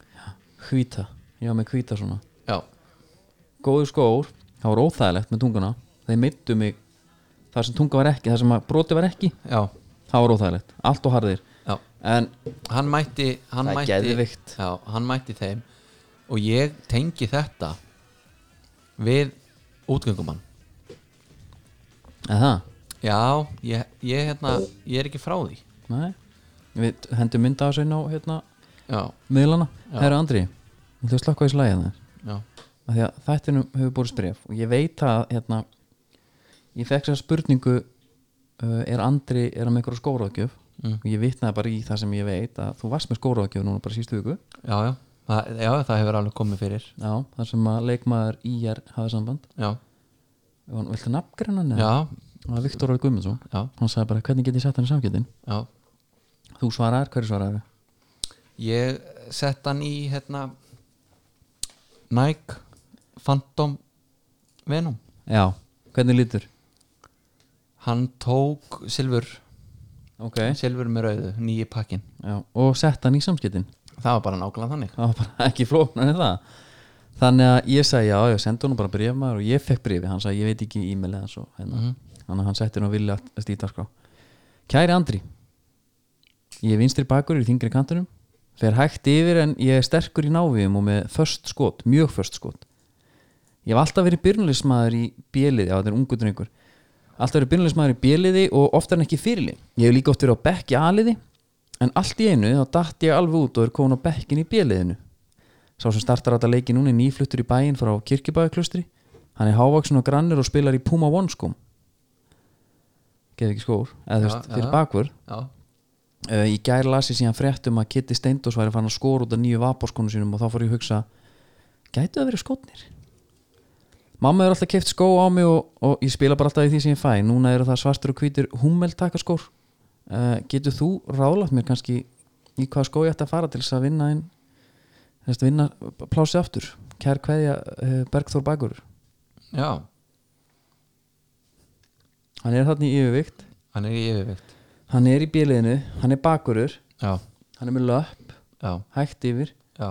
Speaker 1: Hvíta, já með hvíta svona
Speaker 2: Já,
Speaker 1: góður skór það var óþægilegt með tunguna þeir meittu mig þar sem tunga var ekki þar sem að broti var ekki
Speaker 2: já,
Speaker 1: það var óþægilegt allt og harðir
Speaker 2: já
Speaker 1: en
Speaker 2: Hann mætti hann
Speaker 1: Það er
Speaker 2: mætti,
Speaker 1: geðveikt.
Speaker 2: Já, hann mætti þeim Og ég tengi þetta Við útgöngumann
Speaker 1: eða
Speaker 2: Já, ég, ég, hérna, ég er ekki frá því
Speaker 1: nei við hendum mynda á sig á hérna
Speaker 2: Já,
Speaker 1: miðlana herra Andri þú þau slakka í slæðið þær
Speaker 2: já,
Speaker 1: af því að þættinum hefur búið spref og ég veit að hérna ég fekk sér spurningu uh, er Andri er hann með einhverju skóraðgjöf
Speaker 2: Mm.
Speaker 1: og ég vitnaði bara í það sem ég veit að þú varst með skóraðgjöf núna bara sístu viku
Speaker 2: já, já Það, já, það hefur alveg komið fyrir
Speaker 1: já þar sem að leikmaður IR hafði samband
Speaker 2: Já,
Speaker 1: Jón, viltu nafngreina hann?
Speaker 2: já,
Speaker 1: Það var Viktor Óli Guðmundsson
Speaker 2: já,
Speaker 1: Hann sagði bara, hvernig get ég sett hann í samkjöndin?
Speaker 2: já
Speaker 1: Þú svaraðar, hverju svaraðar?
Speaker 2: Ég sett hann í hérna Nike Phantom Venom
Speaker 1: Já, hvernig lítur?
Speaker 2: Hann tók silfur
Speaker 1: Ok
Speaker 2: Silfur með rauðu, nýji pakkin
Speaker 1: Já, og sett hann í samskiptin
Speaker 2: Það var bara nákvæmlega þannig
Speaker 1: Það var bara <laughs> ekki flóknar en það Þannig að ég sagði, já, ég sendi hann bara bréf maður og ég fekk bréfi, hann sagði, ég veit ekki e-mailið hans og hérna, þannig að hann setti hann á vilja að stýta skrá Kæri Andri Ég er vinstri bakur í þingri kantunum fer hægt yfir en ég er sterkur í náviðum og með först skot, mjög först skot Ég hef alltaf verið byrnulismæður í bjeliði, á þetta er ungu drengur Alltaf verið byrnulismæður í bjeliði og oftar en ekki fyrirlið Ég hef líka oft verið á bekk í aliði En allt í einu þá datt ég alveg út og er komin á bekkin í bjeliðinu Sá sem startar á þetta leiki núna er nýfluttur í bæinn frá kirkibæðuklustri Hann er hávaksin og grannur og spilar í Puma One skóm Geð ekki skór, eða þú
Speaker 2: Já,
Speaker 1: veist, fyrir
Speaker 2: já.
Speaker 1: bakvörð
Speaker 2: Já,
Speaker 1: Uh, í gær las ég síðan fréttum að Kitty Steindós væri fann að skora út af nýju vaporskonu sínum og þá fór ég að hugsa gætu það verið skotnir mamma er alltaf keft skó á mig og, og ég spila bara alltaf í því sem ég fæ núna eru það svartur og hvítir hummel takaskór uh, getur þú ráðlagt mér kannski í hvað skó ég ætti að fara til þess að vinna inn, þess að vinna plási aftur kær kveðja uh, Bergþór Bakur
Speaker 2: já,
Speaker 1: hann er þarna í yfirvikt
Speaker 2: hann er í yfirveikt
Speaker 1: hann er í bíliðinu, hann er bakurur
Speaker 2: Já,
Speaker 1: hann er með löpp,
Speaker 2: já
Speaker 1: hægt yfir
Speaker 2: Já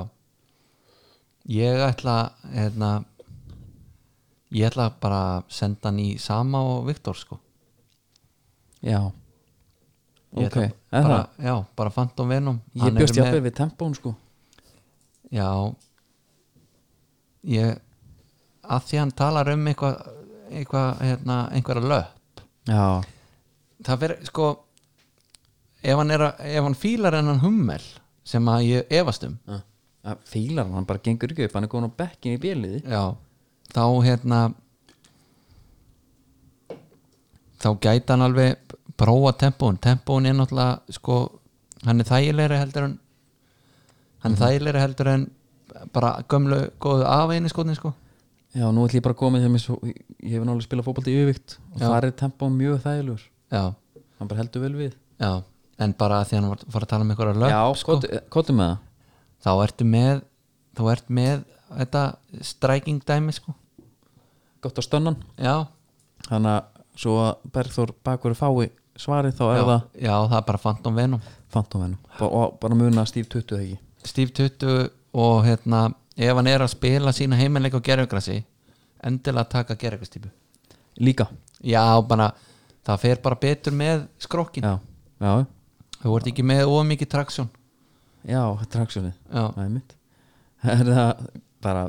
Speaker 2: Ég ætla hérna, ég ætla bara að senda hann í sama og Viktor sko
Speaker 1: já ok,
Speaker 2: Ég ætla
Speaker 1: eða
Speaker 2: bara,
Speaker 1: það
Speaker 2: já, bara Phantom Venom
Speaker 1: ég
Speaker 2: Hann er
Speaker 1: bjóst
Speaker 2: með-
Speaker 1: jafnvel við tempón sko
Speaker 2: já ég að því hann talar um eitthvað eitthva, hérna, einhverja löpp
Speaker 1: já,
Speaker 2: það verður sko ef hann, er að, ef hann fílar en hann hummel sem að ég efast um
Speaker 1: það fílar hann, hann bara gengur ekki upp hann er góðan á bekkin í bjöliði
Speaker 2: já, þá hérna þá gæti hann alveg prófa tempón, tempón er náttúrulega sko, hann er þægilegri heldur en hann er þægilegri heldur en bara gömlu góðu afeinu skotin sko
Speaker 1: já, nú ætlum ég bara að koma með þeim eins og ég hef náttúrulega spilað fótbolti yfirvikt og
Speaker 2: Já.
Speaker 1: þar er tempón mjög þægilegur
Speaker 2: já,
Speaker 1: hann bara heldur vel við
Speaker 2: já, en bara því hann var, var að tala um einhverja lög
Speaker 1: já, sko. kottum með það
Speaker 2: þá ertu með þá ertu með þetta striking dæmi sko
Speaker 1: gott á stönnan
Speaker 2: já,
Speaker 1: þannig að svo að Bergþór Bakur fái svarið þá er
Speaker 2: já,
Speaker 1: það
Speaker 2: já, það er bara Phantom Venom
Speaker 1: fantómenum og bara muna Steve 20 ekki
Speaker 2: Steve Tuttu og hérna ef hann er að spila sína heiminleik á gerfugrassi endilega taka gerfugrastýpu
Speaker 1: líka
Speaker 2: já bara það fer bara betur með skrokkin
Speaker 1: já, já,
Speaker 2: þú ert ekki með of mikið traksjón
Speaker 1: já, þetta er haksjónið
Speaker 2: já,
Speaker 1: það er mitt það er það bara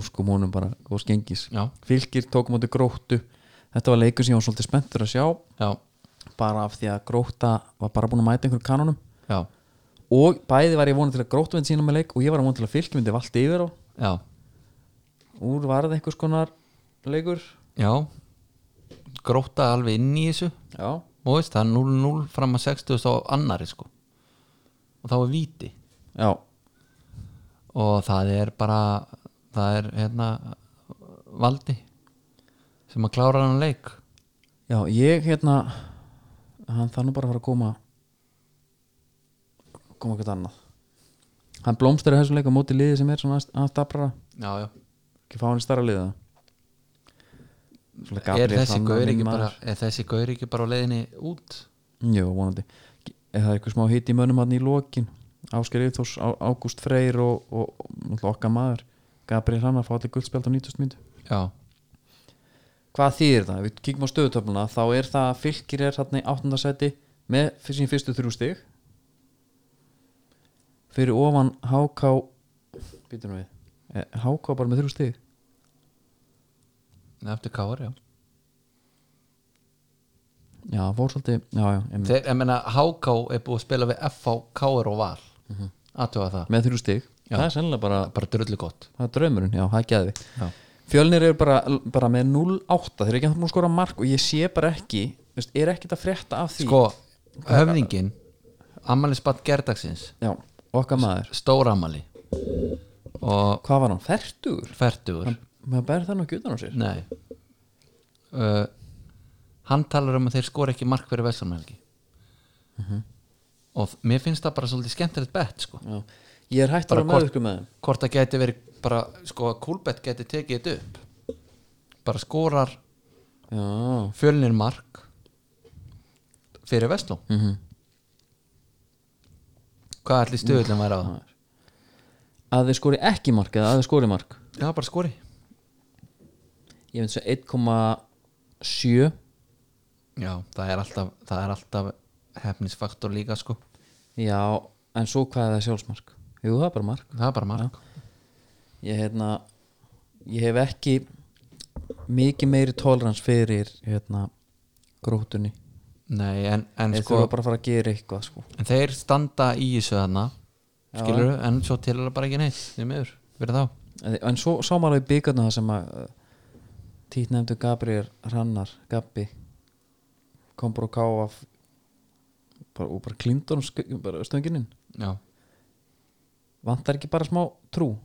Speaker 1: óskum honum bara og skengis
Speaker 2: já,
Speaker 1: fylgir tók móti gróttu þetta var leikur sem ég var svolítið spenntur að sjá
Speaker 2: já,
Speaker 1: bara af því að gróta var bara búin að mæta einhverjum kanonum
Speaker 2: já,
Speaker 1: og bæði var ég vonið til að gróttu mynd sína með leik og ég var að vonið til að fylgjum myndi valdi yfir á
Speaker 2: já,
Speaker 1: úr varð einhvers konar leikur
Speaker 2: já. gróta alveg inn í þessu
Speaker 1: já,
Speaker 2: og veist það er 0-0 fram að 60 og annari sko og þá er víti
Speaker 1: já,
Speaker 2: og það er bara það er hérna valdi sem að klára hann leik
Speaker 1: já ég hérna hann þarf nú bara að fara að koma koma eitthvað annað hann blómstur í þessum leik á móti liði sem er svona aðstabrara
Speaker 2: já, já
Speaker 1: ekki fá hann í starra liða Svona
Speaker 2: er
Speaker 1: Gabriel
Speaker 2: þessi
Speaker 1: Hrannar,
Speaker 2: gaur
Speaker 1: minn
Speaker 2: ekki bara
Speaker 1: maður.
Speaker 2: er þessi gaur ekki bara á leiðinni út
Speaker 1: Jú, vonandi Er það eitthvað smá hitt í mönnum hann í lokin Ásker Íþós, Ágúst Freyr og, og, og náttúrulega okkar maður Gabriel Hrannar fá allir guldspjald á 90 myndu
Speaker 2: já,
Speaker 1: Hvað þýðir það? Ef Við kíkum á stöðutöfluna þá er það að fylgir er þarna í 8. sæti með fyrir sín fyrstu þrjú stig fyrir ofan HK býtum við Eh, HK bara með þrjú stig
Speaker 2: eftir káar, já
Speaker 1: Já, fór svolítið, já, já, einmitt.
Speaker 2: Þeir, ég meina, HK er búið að spila við FH, káar og val mm það,
Speaker 1: Mhm. með þrjú stig það er sennilega bara
Speaker 2: bara drullu gott
Speaker 1: það er draumurinn, já, það er geðvik
Speaker 2: já,
Speaker 1: Fjölnir eru bara, bara með 0-8 þeir eru ekki að skora mark og ég sé bara ekki þú veist, er ekkert að frétta af því
Speaker 2: sko, höfningin ammælisbatt gerdagsins
Speaker 1: já, okkar maður,
Speaker 2: stórammæli og
Speaker 1: hvað var hann, fertugur?
Speaker 2: færtugur
Speaker 1: maður ber það nú ekki utan á sér
Speaker 2: Nei uh, Hann talar um að þeir skora ekki mark fyrir Vestamhelgi
Speaker 1: Mhm.
Speaker 2: og mér finnst það bara svolítið skemmtilegt bett sko.
Speaker 1: já. ég er hægt að vera meðvirkur með þeim
Speaker 2: hvort það gæti verið bara sko að Kúlbett gæti tekið þetta upp bara skorar
Speaker 1: já,
Speaker 2: fjölnir mark fyrir Vestló
Speaker 1: Mhm.
Speaker 2: hvað allir stöðlum væri á það?
Speaker 1: að þeir skori ekki mark eða að þeir skori mark
Speaker 2: Já, bara skori
Speaker 1: ég finnst svo 1,7
Speaker 2: Já, það er alltaf, það er alltaf hefnisfaktor líka sko
Speaker 1: já, en svo hvað er það sjálfsmark jú, það er bara mark
Speaker 2: það er bara mark
Speaker 1: ég hérna ég hef ekki mikið meiri tolerans fyrir hérna grótunni
Speaker 2: Nei, en, en
Speaker 1: þeir
Speaker 2: sko
Speaker 1: þurfa bara að fara að gera eitthvað sko
Speaker 2: en þeir standa í þessu þarna skilur en svo til er það bara ekki neitt því miður, fyrir þá
Speaker 1: en, en svo sá maður í byggarnu það sem að uh, tít nefndu Gabriel Hrannar Gabbi kom bara og ká af bara, og bara klindunum sk- bara stöngininn
Speaker 2: já,
Speaker 1: vantar ekki bara smá trú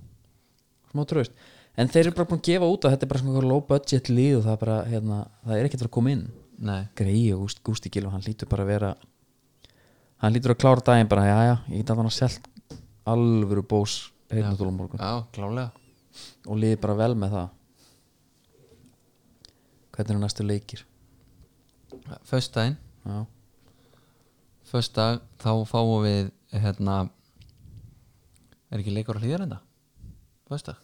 Speaker 1: smá tröst en þeir eru bara búin að gefa út að þetta er bara svona low budget lið og það er bara hérna, það er ekkert að koma inn
Speaker 2: nei,
Speaker 1: greið og Gúst- Gústi Gilv hann lítur bara að vera hann lítur að klára daginn bara já já, ég get að hann að selt alvöru bós heitna tólum morgun
Speaker 2: já, klálega
Speaker 1: og liði bara vel með það hvernig eru næstu leikir
Speaker 2: föstudaginn,
Speaker 1: já,
Speaker 2: föstudag þá fáum við hérna er ekki leikur að hlýða reynda föstudag,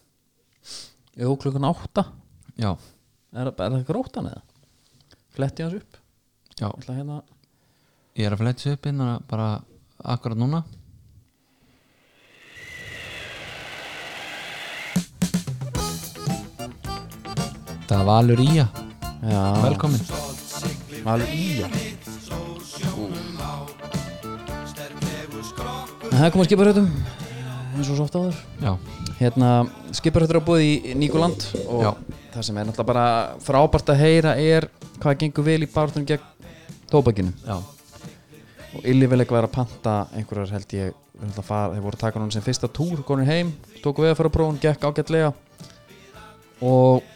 Speaker 1: jú klukkan átta
Speaker 2: já,
Speaker 1: er, er það grótan eða? fletti hans upp
Speaker 2: já
Speaker 1: Ætla, hérna,
Speaker 2: ég er að flæta þessu upp inn bara akkurat núna það er Valur Ía
Speaker 1: já,
Speaker 2: velkomin
Speaker 1: alveg í hann en það koma skiparhautum eins og svo oft áður
Speaker 2: já,
Speaker 1: hérna, skiparhautur á búið í Nýguland og
Speaker 2: Já.
Speaker 1: það sem er náttúrulega bara frábært að heyra er hvað gengur vel í barðunum gegn tóbakinu
Speaker 2: já,
Speaker 1: og illiveleg var að panta einhverjar held ég held að fara, þeir voru að taka hann sem fyrsta túr konur heim, tóku við að fara prófun, gekk ágætlega og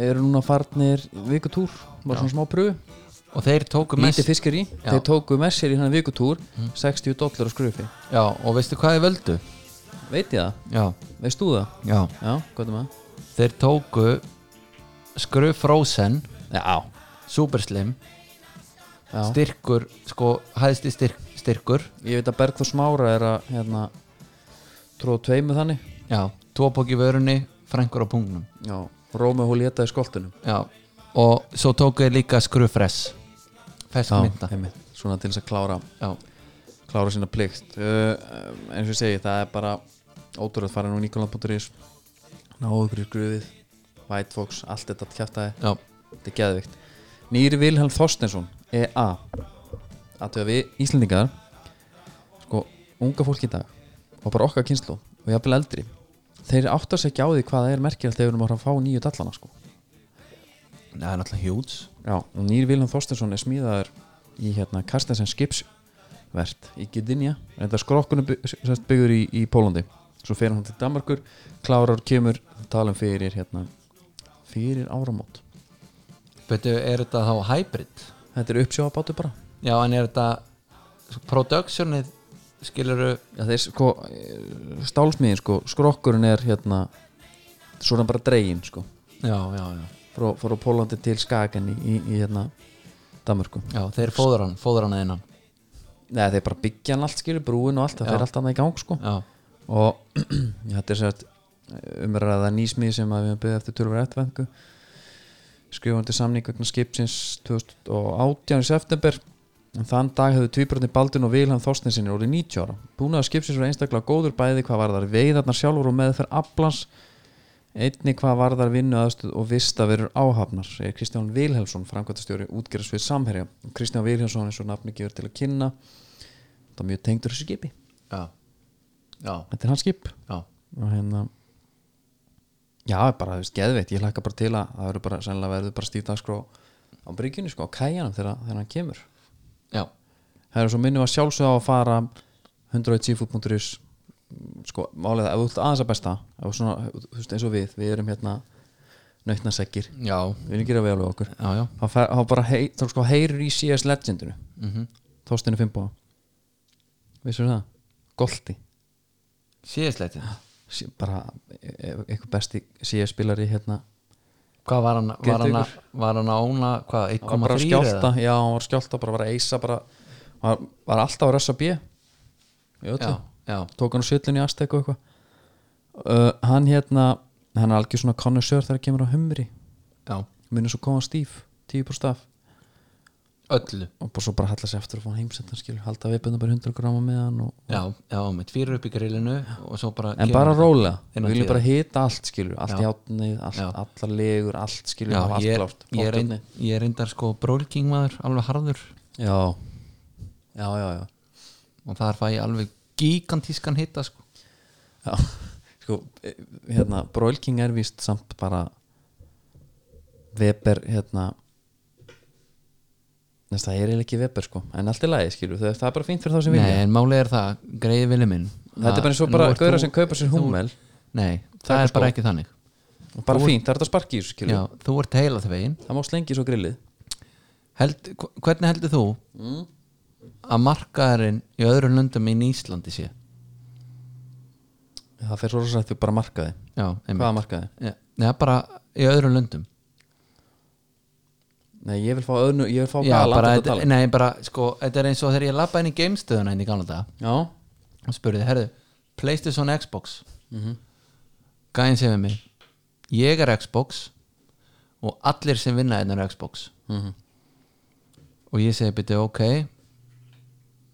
Speaker 1: eru núna farnir vikutúr, var svona smá pröfu
Speaker 2: og þeir tóku mest
Speaker 1: lítið fiskir í,
Speaker 2: Já.
Speaker 1: þeir tóku með sér í hennar vikutúr 60 dólar á skrufi
Speaker 2: já, og veistu hvað þeir völdu
Speaker 1: veit ég það,
Speaker 2: já,
Speaker 1: veist þú það?
Speaker 2: já
Speaker 1: já, hvað er maður?
Speaker 2: þeir tóku Skru Frozen
Speaker 1: já,
Speaker 2: Super Slim
Speaker 1: já.
Speaker 2: styrkur, sko, hæðsti styrk, styrkur
Speaker 1: ég veit að Bergþór Smára er að hérna, tróða tveimu þannig
Speaker 2: já, tópokk í vörunni frængur á pungnum
Speaker 1: já, Rómi hún létaði skoltunum
Speaker 2: já, og svo tóku þeir líka Skru Fress fersk mynda
Speaker 1: einmitt, svona til þess að klára
Speaker 2: já,
Speaker 1: klára sína plikt uh, eins og ég segi, það er bara ótrúlega að fara nú nikoland.is náðu ykkur í gröfið White Fox, allt þetta kjátaði,
Speaker 2: já,
Speaker 1: þetta er geðvikt Nýri Vilhelm E Þorstensson, EA Aðtöða við Íslendingar sko, unga fólk í dag og bara okkar kynslu og jafnvel eldri þeir áttar sér ekki á því hvað það er merkilegt þegar við erum að fara að fá nýju dallana sko.
Speaker 2: það er náttúrulega hjúts
Speaker 1: Já, og Nýr Vilhelm Þorstensson er smíðaður í hérna Karstensen skipsvert í Gdynia, en það skrokkunum byggur í, í Pólandi svo fer hann til Danmarkur, klárar kemur talum fyrir hérna fyrir áramót.
Speaker 2: betur, er þetta þá hybrid?
Speaker 1: Þetta er uppsjáabátu bara
Speaker 2: já, en er þetta sko, productionið, skiluru
Speaker 1: Já, þeir sko, stálsmiðin sko, skrokkurinn er hérna svona bara dregin sko
Speaker 2: já, já, já,
Speaker 1: frá, frá Pólandi til Skagen í, í, í hérna Danmarku.
Speaker 2: já, þeir fóður hann fóður hann að innan
Speaker 1: Nei, þeir bara byggja hann allt skilur, brúin og allt, það fer allt annað í gang sko.
Speaker 2: já,
Speaker 1: og <clears throat> þetta er sérst umræða nýsmið sem að við höfum byggðið eftir tölvur eftirvengu skrifandi samning vegna skipsins 2018 í september en þann dag hefðu tvíbrotni Baldun og Vilhelm Þorstensinni orðið 90 ára búnaður skipsins var einstaklega góður bæði hvað varðar veiðarnar sjálfur og meðferð aflans einni hvað varðar vinnu aðstöð og vista verður áhafnar segir Kristján Vilhelmsson, framkvæmtastjóri útgerðsvið samherja og Kristján Vilhelmsson eins og nafni gefur til að kynna það er mjög tengdur þessu skipi
Speaker 2: já, já,
Speaker 1: þetta er hans skip
Speaker 2: já.
Speaker 1: og hérna já, bara, þú veist, geðveitt, ég hlakka bara til að það verður bara, sennilega verður bara stíta skró á bryggjunni, sko, á kæjanum þegar, þegar hann kemur
Speaker 2: já.
Speaker 1: það er svo minnum að sjálfsögða á að fara 100.gfood.is sko, málið það, ef þú ert aðeins að besta ef þú svona, þú veist, eins og við, við erum hérna nautnasekkir,
Speaker 2: já,
Speaker 1: við erum gera vel við okkur
Speaker 2: já, já.
Speaker 1: þá, fer, þá bara, hei, þá sko, heyrir í CS Legendinu
Speaker 2: Mm
Speaker 1: Þorstinu Fimboa vissur það? Golti
Speaker 2: síðisleitin
Speaker 1: Sí- bara, e- e- eitthvað besti CS spilari hérna
Speaker 2: hvað var hann, var hann, að-
Speaker 1: Geðveikur.
Speaker 2: var hann að óna hvað,
Speaker 1: hann var bara
Speaker 2: 1,3
Speaker 1: skjálta
Speaker 2: eða?
Speaker 1: já, hann var skjálta, bara var að eisa bara, var, var alltaf að rössa bjö
Speaker 2: já, já,
Speaker 1: tók hann á sjöllunni í Aztek og eitthvað uh, hann hérna hann er algjör svona connoisseur þegar kemur á humri
Speaker 2: já,
Speaker 1: munið svo koma stíf, 10% af
Speaker 2: öllu
Speaker 1: og bara svo bara halla sér aftur og fá hann heimsendan skilur halda viðbönda bara 100 grama með hann og,
Speaker 2: já, já, með tvíra upp í grillinu og svo bara
Speaker 1: en bara rólega,
Speaker 2: Innan
Speaker 1: við viljum
Speaker 2: tíðar.
Speaker 1: bara hita allt skilur allt
Speaker 2: Já.
Speaker 1: játnið, allt,
Speaker 2: Já.
Speaker 1: allar legur allt skilur,
Speaker 2: já,
Speaker 1: hafa allt
Speaker 2: ég,
Speaker 1: klárt
Speaker 2: ég, reynd,
Speaker 1: Pottþjónninn.
Speaker 2: ég reyndar sko brólking maður alveg harður
Speaker 1: já, já, já, já
Speaker 2: og þar fæ ég alveg gigantískan hitta sko
Speaker 1: Já, <laughs> sko, eh, hérna Broil King er víst samt bara Weber, hérna Næst, það er eiginlega ekki Weber, sko En allt er lagi, skilur, það, það er bara fínt fyrir þá sem vilja
Speaker 2: nei, en málið er það, greiði vilja minn
Speaker 1: Þetta er bara eins og
Speaker 2: að
Speaker 1: bara
Speaker 2: nú ert
Speaker 1: gauðra
Speaker 2: þú-
Speaker 1: sem kaupa sér
Speaker 2: þú-
Speaker 1: húmmel
Speaker 2: nei, það
Speaker 1: Taka
Speaker 2: er bara
Speaker 1: skó.
Speaker 2: ekki þannig
Speaker 1: og bara fínt, það er þetta sparki í þessu, skilur
Speaker 2: já, þú ert heila þegar veginn
Speaker 1: Það má slengi svo grillið
Speaker 2: Held, hv- hvernig heldur þú
Speaker 1: Mm.
Speaker 2: að markaðarinn í öðrum löndum en Íslandi sé
Speaker 1: Það fer svo rosa að þau bara markaði
Speaker 2: já,
Speaker 1: Hvaða markaði?
Speaker 2: Já, neða bara í öðrum löndum
Speaker 1: Nei, ég vil fá öðnu, ég vil fá
Speaker 2: Já,
Speaker 1: gala
Speaker 2: bara,
Speaker 1: bara,
Speaker 2: þetta, nei, bara, sko, þetta er eins og þegar ég lappa inn í gamestöðuna inn í gamla daga
Speaker 1: Já,
Speaker 2: og spurði, herðu, Playstation Xbox mm -hmm. gæðin sem við mig ég er Xbox og allir sem vinna hérna eru Xbox og ég segi byrju ok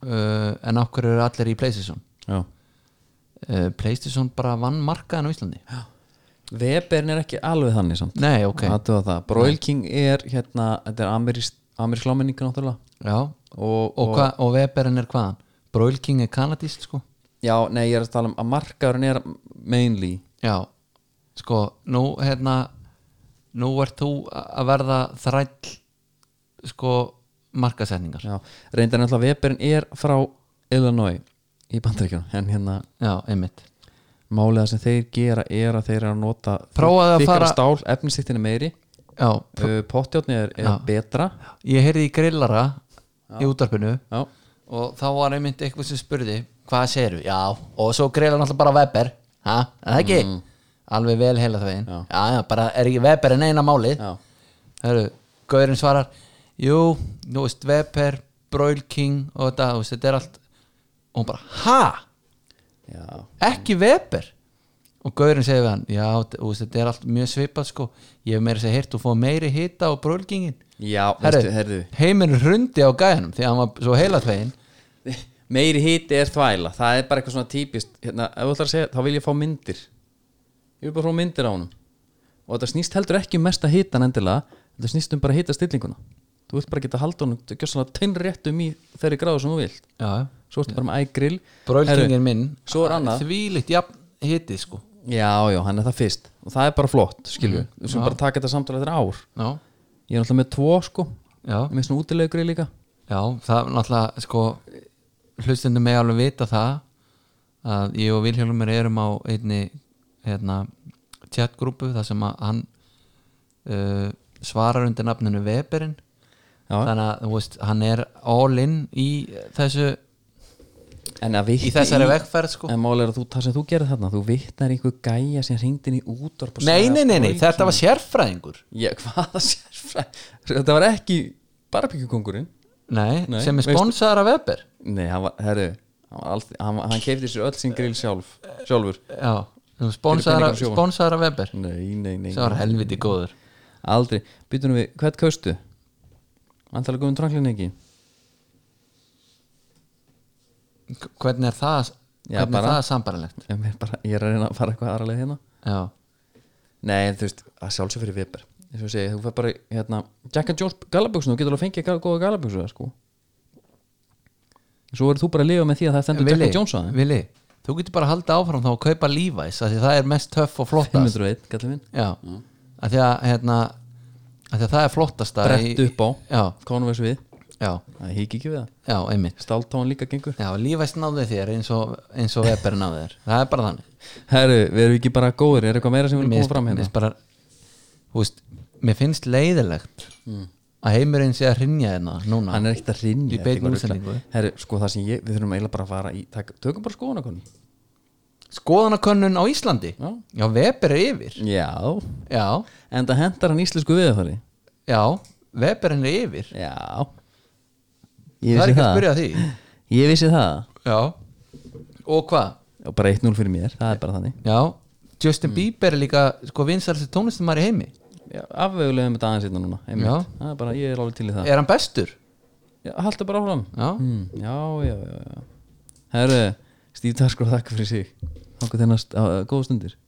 Speaker 2: uh, en okkur eru allir í Playstation
Speaker 1: já
Speaker 2: uh, Playstation bara vann markaðan á Íslandi
Speaker 1: Weberin er ekki alveg þannig samt
Speaker 2: nei ok
Speaker 1: Athuga það, Broil King er hérna, þetta er amerísk amerísk lámenninga náttúrulega
Speaker 2: Já,
Speaker 1: og,
Speaker 2: og, hva, og Weberin er hvaðan? Broil King er kanadíst sko
Speaker 1: já, nei, ég er að tala um að markaðurinn er mainly
Speaker 2: Já, sko, nú hérna nú ert þú að verða þræll sko markasetningar Já,
Speaker 1: já, reyndar náttúrulega Weberin er frá Illinois í bandaríkjunum en hérna,
Speaker 2: einmitt
Speaker 1: málið að sem þeir gera er að þeir eru að nota
Speaker 2: Prófaðu að
Speaker 1: þykkara
Speaker 2: fara-
Speaker 1: stál, efnisíktin er meiri
Speaker 2: Já,
Speaker 1: uh, pottjátni er, er betra
Speaker 2: ég heyrði í grillara í útarpinu
Speaker 1: já,
Speaker 2: og þá var einmitt eitthvað sem spurði hvað segirðu? Já, og svo grillar náttúrulega bara Weber ha, er það ekki? Alveg vel heila það veginn
Speaker 1: Mm. Já.
Speaker 2: já, bara er ekki Weber en eina málið
Speaker 1: já,
Speaker 2: Hörru, Gaurinn svarar Jú, þú veist Weber Broil King og þetta þú veist, Þetta er allt Og hún bara, ha?
Speaker 1: já
Speaker 2: Ekki Weber? Og Gaurinn segir við hann Já, þú veist, þetta er allt mjög svipað sko Ég hef meira að segja heyrt og fóð meiri hita á Broil Kingin
Speaker 1: Já, veistu,
Speaker 2: Herru,
Speaker 1: herðu
Speaker 2: heiminn hrundi á gæðanum Því að hann var svo heila tvegin
Speaker 1: <laughs> meiri hiti er þvæla það er bara eitthvað svona típist hérna, ef þú ætlar að segja, þá vil ég fá myndir ég vil bara fá myndir á honum og þetta snýst heldur ekki um mesta hitan endilega þetta snýst um bara hita stillinguna þú vilt bara geta halda honum, þú gjör svona teinn réttum í þeirri gráðu sem þú vilt
Speaker 2: Já,
Speaker 1: svo ertu bara með ægrill
Speaker 2: Broil King er minn
Speaker 1: svo er annað.
Speaker 2: Þvílíkt, jafn, hitið sko
Speaker 1: já, já, hann er það fyrst og það er bara flott, skilju
Speaker 2: Mhm.
Speaker 1: við sem bara taka þetta samtala eftir ár
Speaker 2: Já,
Speaker 1: ég er náttúrulega með tvo, sko
Speaker 2: já
Speaker 1: ég er með svona útilegu grill líka
Speaker 2: Já, það er náttúrulega sko hlustundum með alveg vita það að ég og Vilhjálmur erum á einni hérna, chatgrúpu þar sem að hann uh, svarar undir nafninu Weberinn
Speaker 1: Já.
Speaker 2: þannig að þú veist, hann er all in í þessu
Speaker 1: en að vitna
Speaker 2: í þessari vegferð sko
Speaker 1: en máli er að þú, það sem þú gerir þarna þú vitnar í einhver gæja sem hringdi inn í útvarp og
Speaker 2: Nei,
Speaker 1: sagði
Speaker 2: nei,
Speaker 1: að
Speaker 2: nei, nei,
Speaker 1: Broil
Speaker 2: þetta var sérfræðingur
Speaker 1: Já, <laughs> hvaða sérfræð Þetta var ekki barbegjukongurinn
Speaker 2: Nei,
Speaker 1: Nei,
Speaker 2: sem er
Speaker 1: veistu-
Speaker 2: sponsaðar af Weber
Speaker 1: Nei, hann var, herru Hann, var allt- hann, hann keipti sér öll sín grill sjálf Sjálfur
Speaker 2: Já, þú sponsaðar af,
Speaker 1: peningana sjóðan.
Speaker 2: sponsaðar af Weber
Speaker 1: Nei, nei, nei
Speaker 2: sem var helviti góður
Speaker 1: Aldrei, býtunum við, hvert kaustu? Antalega góðum tranglinn ekki
Speaker 2: K- Hvernig er það,
Speaker 1: Já,
Speaker 2: hvernig er
Speaker 1: bara-
Speaker 2: það sambaralegt?
Speaker 1: ég, mér bara, ég er að reyna að fara eitthvað aðra leið hérna
Speaker 2: Já,
Speaker 1: Nei, en þú veist, að sjálfsög fyrir Weber Eins og ég segi, þú fær bara, hérna Jack and Jones galabugsun, þú getur alveg að fengja gal, góða galabugsu sko. Svo verður þú bara að lifa með því að það stendur Jack
Speaker 2: Vili,
Speaker 1: and Jones á þeim
Speaker 2: Vili, þú getur bara að halda áfram þá að kaupa Levi's af því það er mest töff og flottast
Speaker 1: 501, gallið minn
Speaker 2: Já, af því að, hérna, af því að það er flottast
Speaker 1: Brett upp á,
Speaker 2: Já,
Speaker 1: Converse við
Speaker 2: já,
Speaker 1: Það hík ekki við það
Speaker 2: já, einmitt
Speaker 1: Stáltáin líka gengur
Speaker 2: Já, Levi's náði þér eins og, eins og Weber náði þér Það er bara þannig
Speaker 1: Herru, við erum ekki bara góðir, er eitthvað meira sem við viljum koma fram
Speaker 2: mér
Speaker 1: hérna
Speaker 2: finnst bara, þú veist, mér finnst leiðilegt að heimurinn sé að hrinja hérna núna
Speaker 1: Mm. Hann er ekkert að rinja
Speaker 2: Í beinni útsendingu.
Speaker 1: Herru, sko það sem ég, við þurfum eiginlega bara að fara í tak, Tökum bara skoðan okkur
Speaker 2: Skoðanakönnun á Íslandi
Speaker 1: Já.
Speaker 2: já Weber er yfir
Speaker 1: Já,
Speaker 2: Já,
Speaker 1: en það hendar hann íslensku viðhóri
Speaker 2: já, Weber er yfir
Speaker 1: Já Ég
Speaker 2: Það er
Speaker 1: vissi
Speaker 2: ekki að
Speaker 1: það,
Speaker 2: spyrja að því
Speaker 1: Ég vissi það
Speaker 2: Já Og hvað?
Speaker 1: Og bara 1-0 fyrir mér, það er bara þannig
Speaker 2: Já, Mm. Justin Bieber er líka sko vinsarasti tónlistumar í heimi
Speaker 1: Já, Afvegulegum þetta aðeins hérna núna einmitt.
Speaker 2: Já.
Speaker 1: Það er bara, ég er alveg til í það
Speaker 2: Er hann bestur?
Speaker 1: Já, Haltu bara áfram
Speaker 2: Já,
Speaker 1: Mm, já, já, já, já. Herru, Steve Tasker og þakka fyrir sig Þakka þennast á góða stundir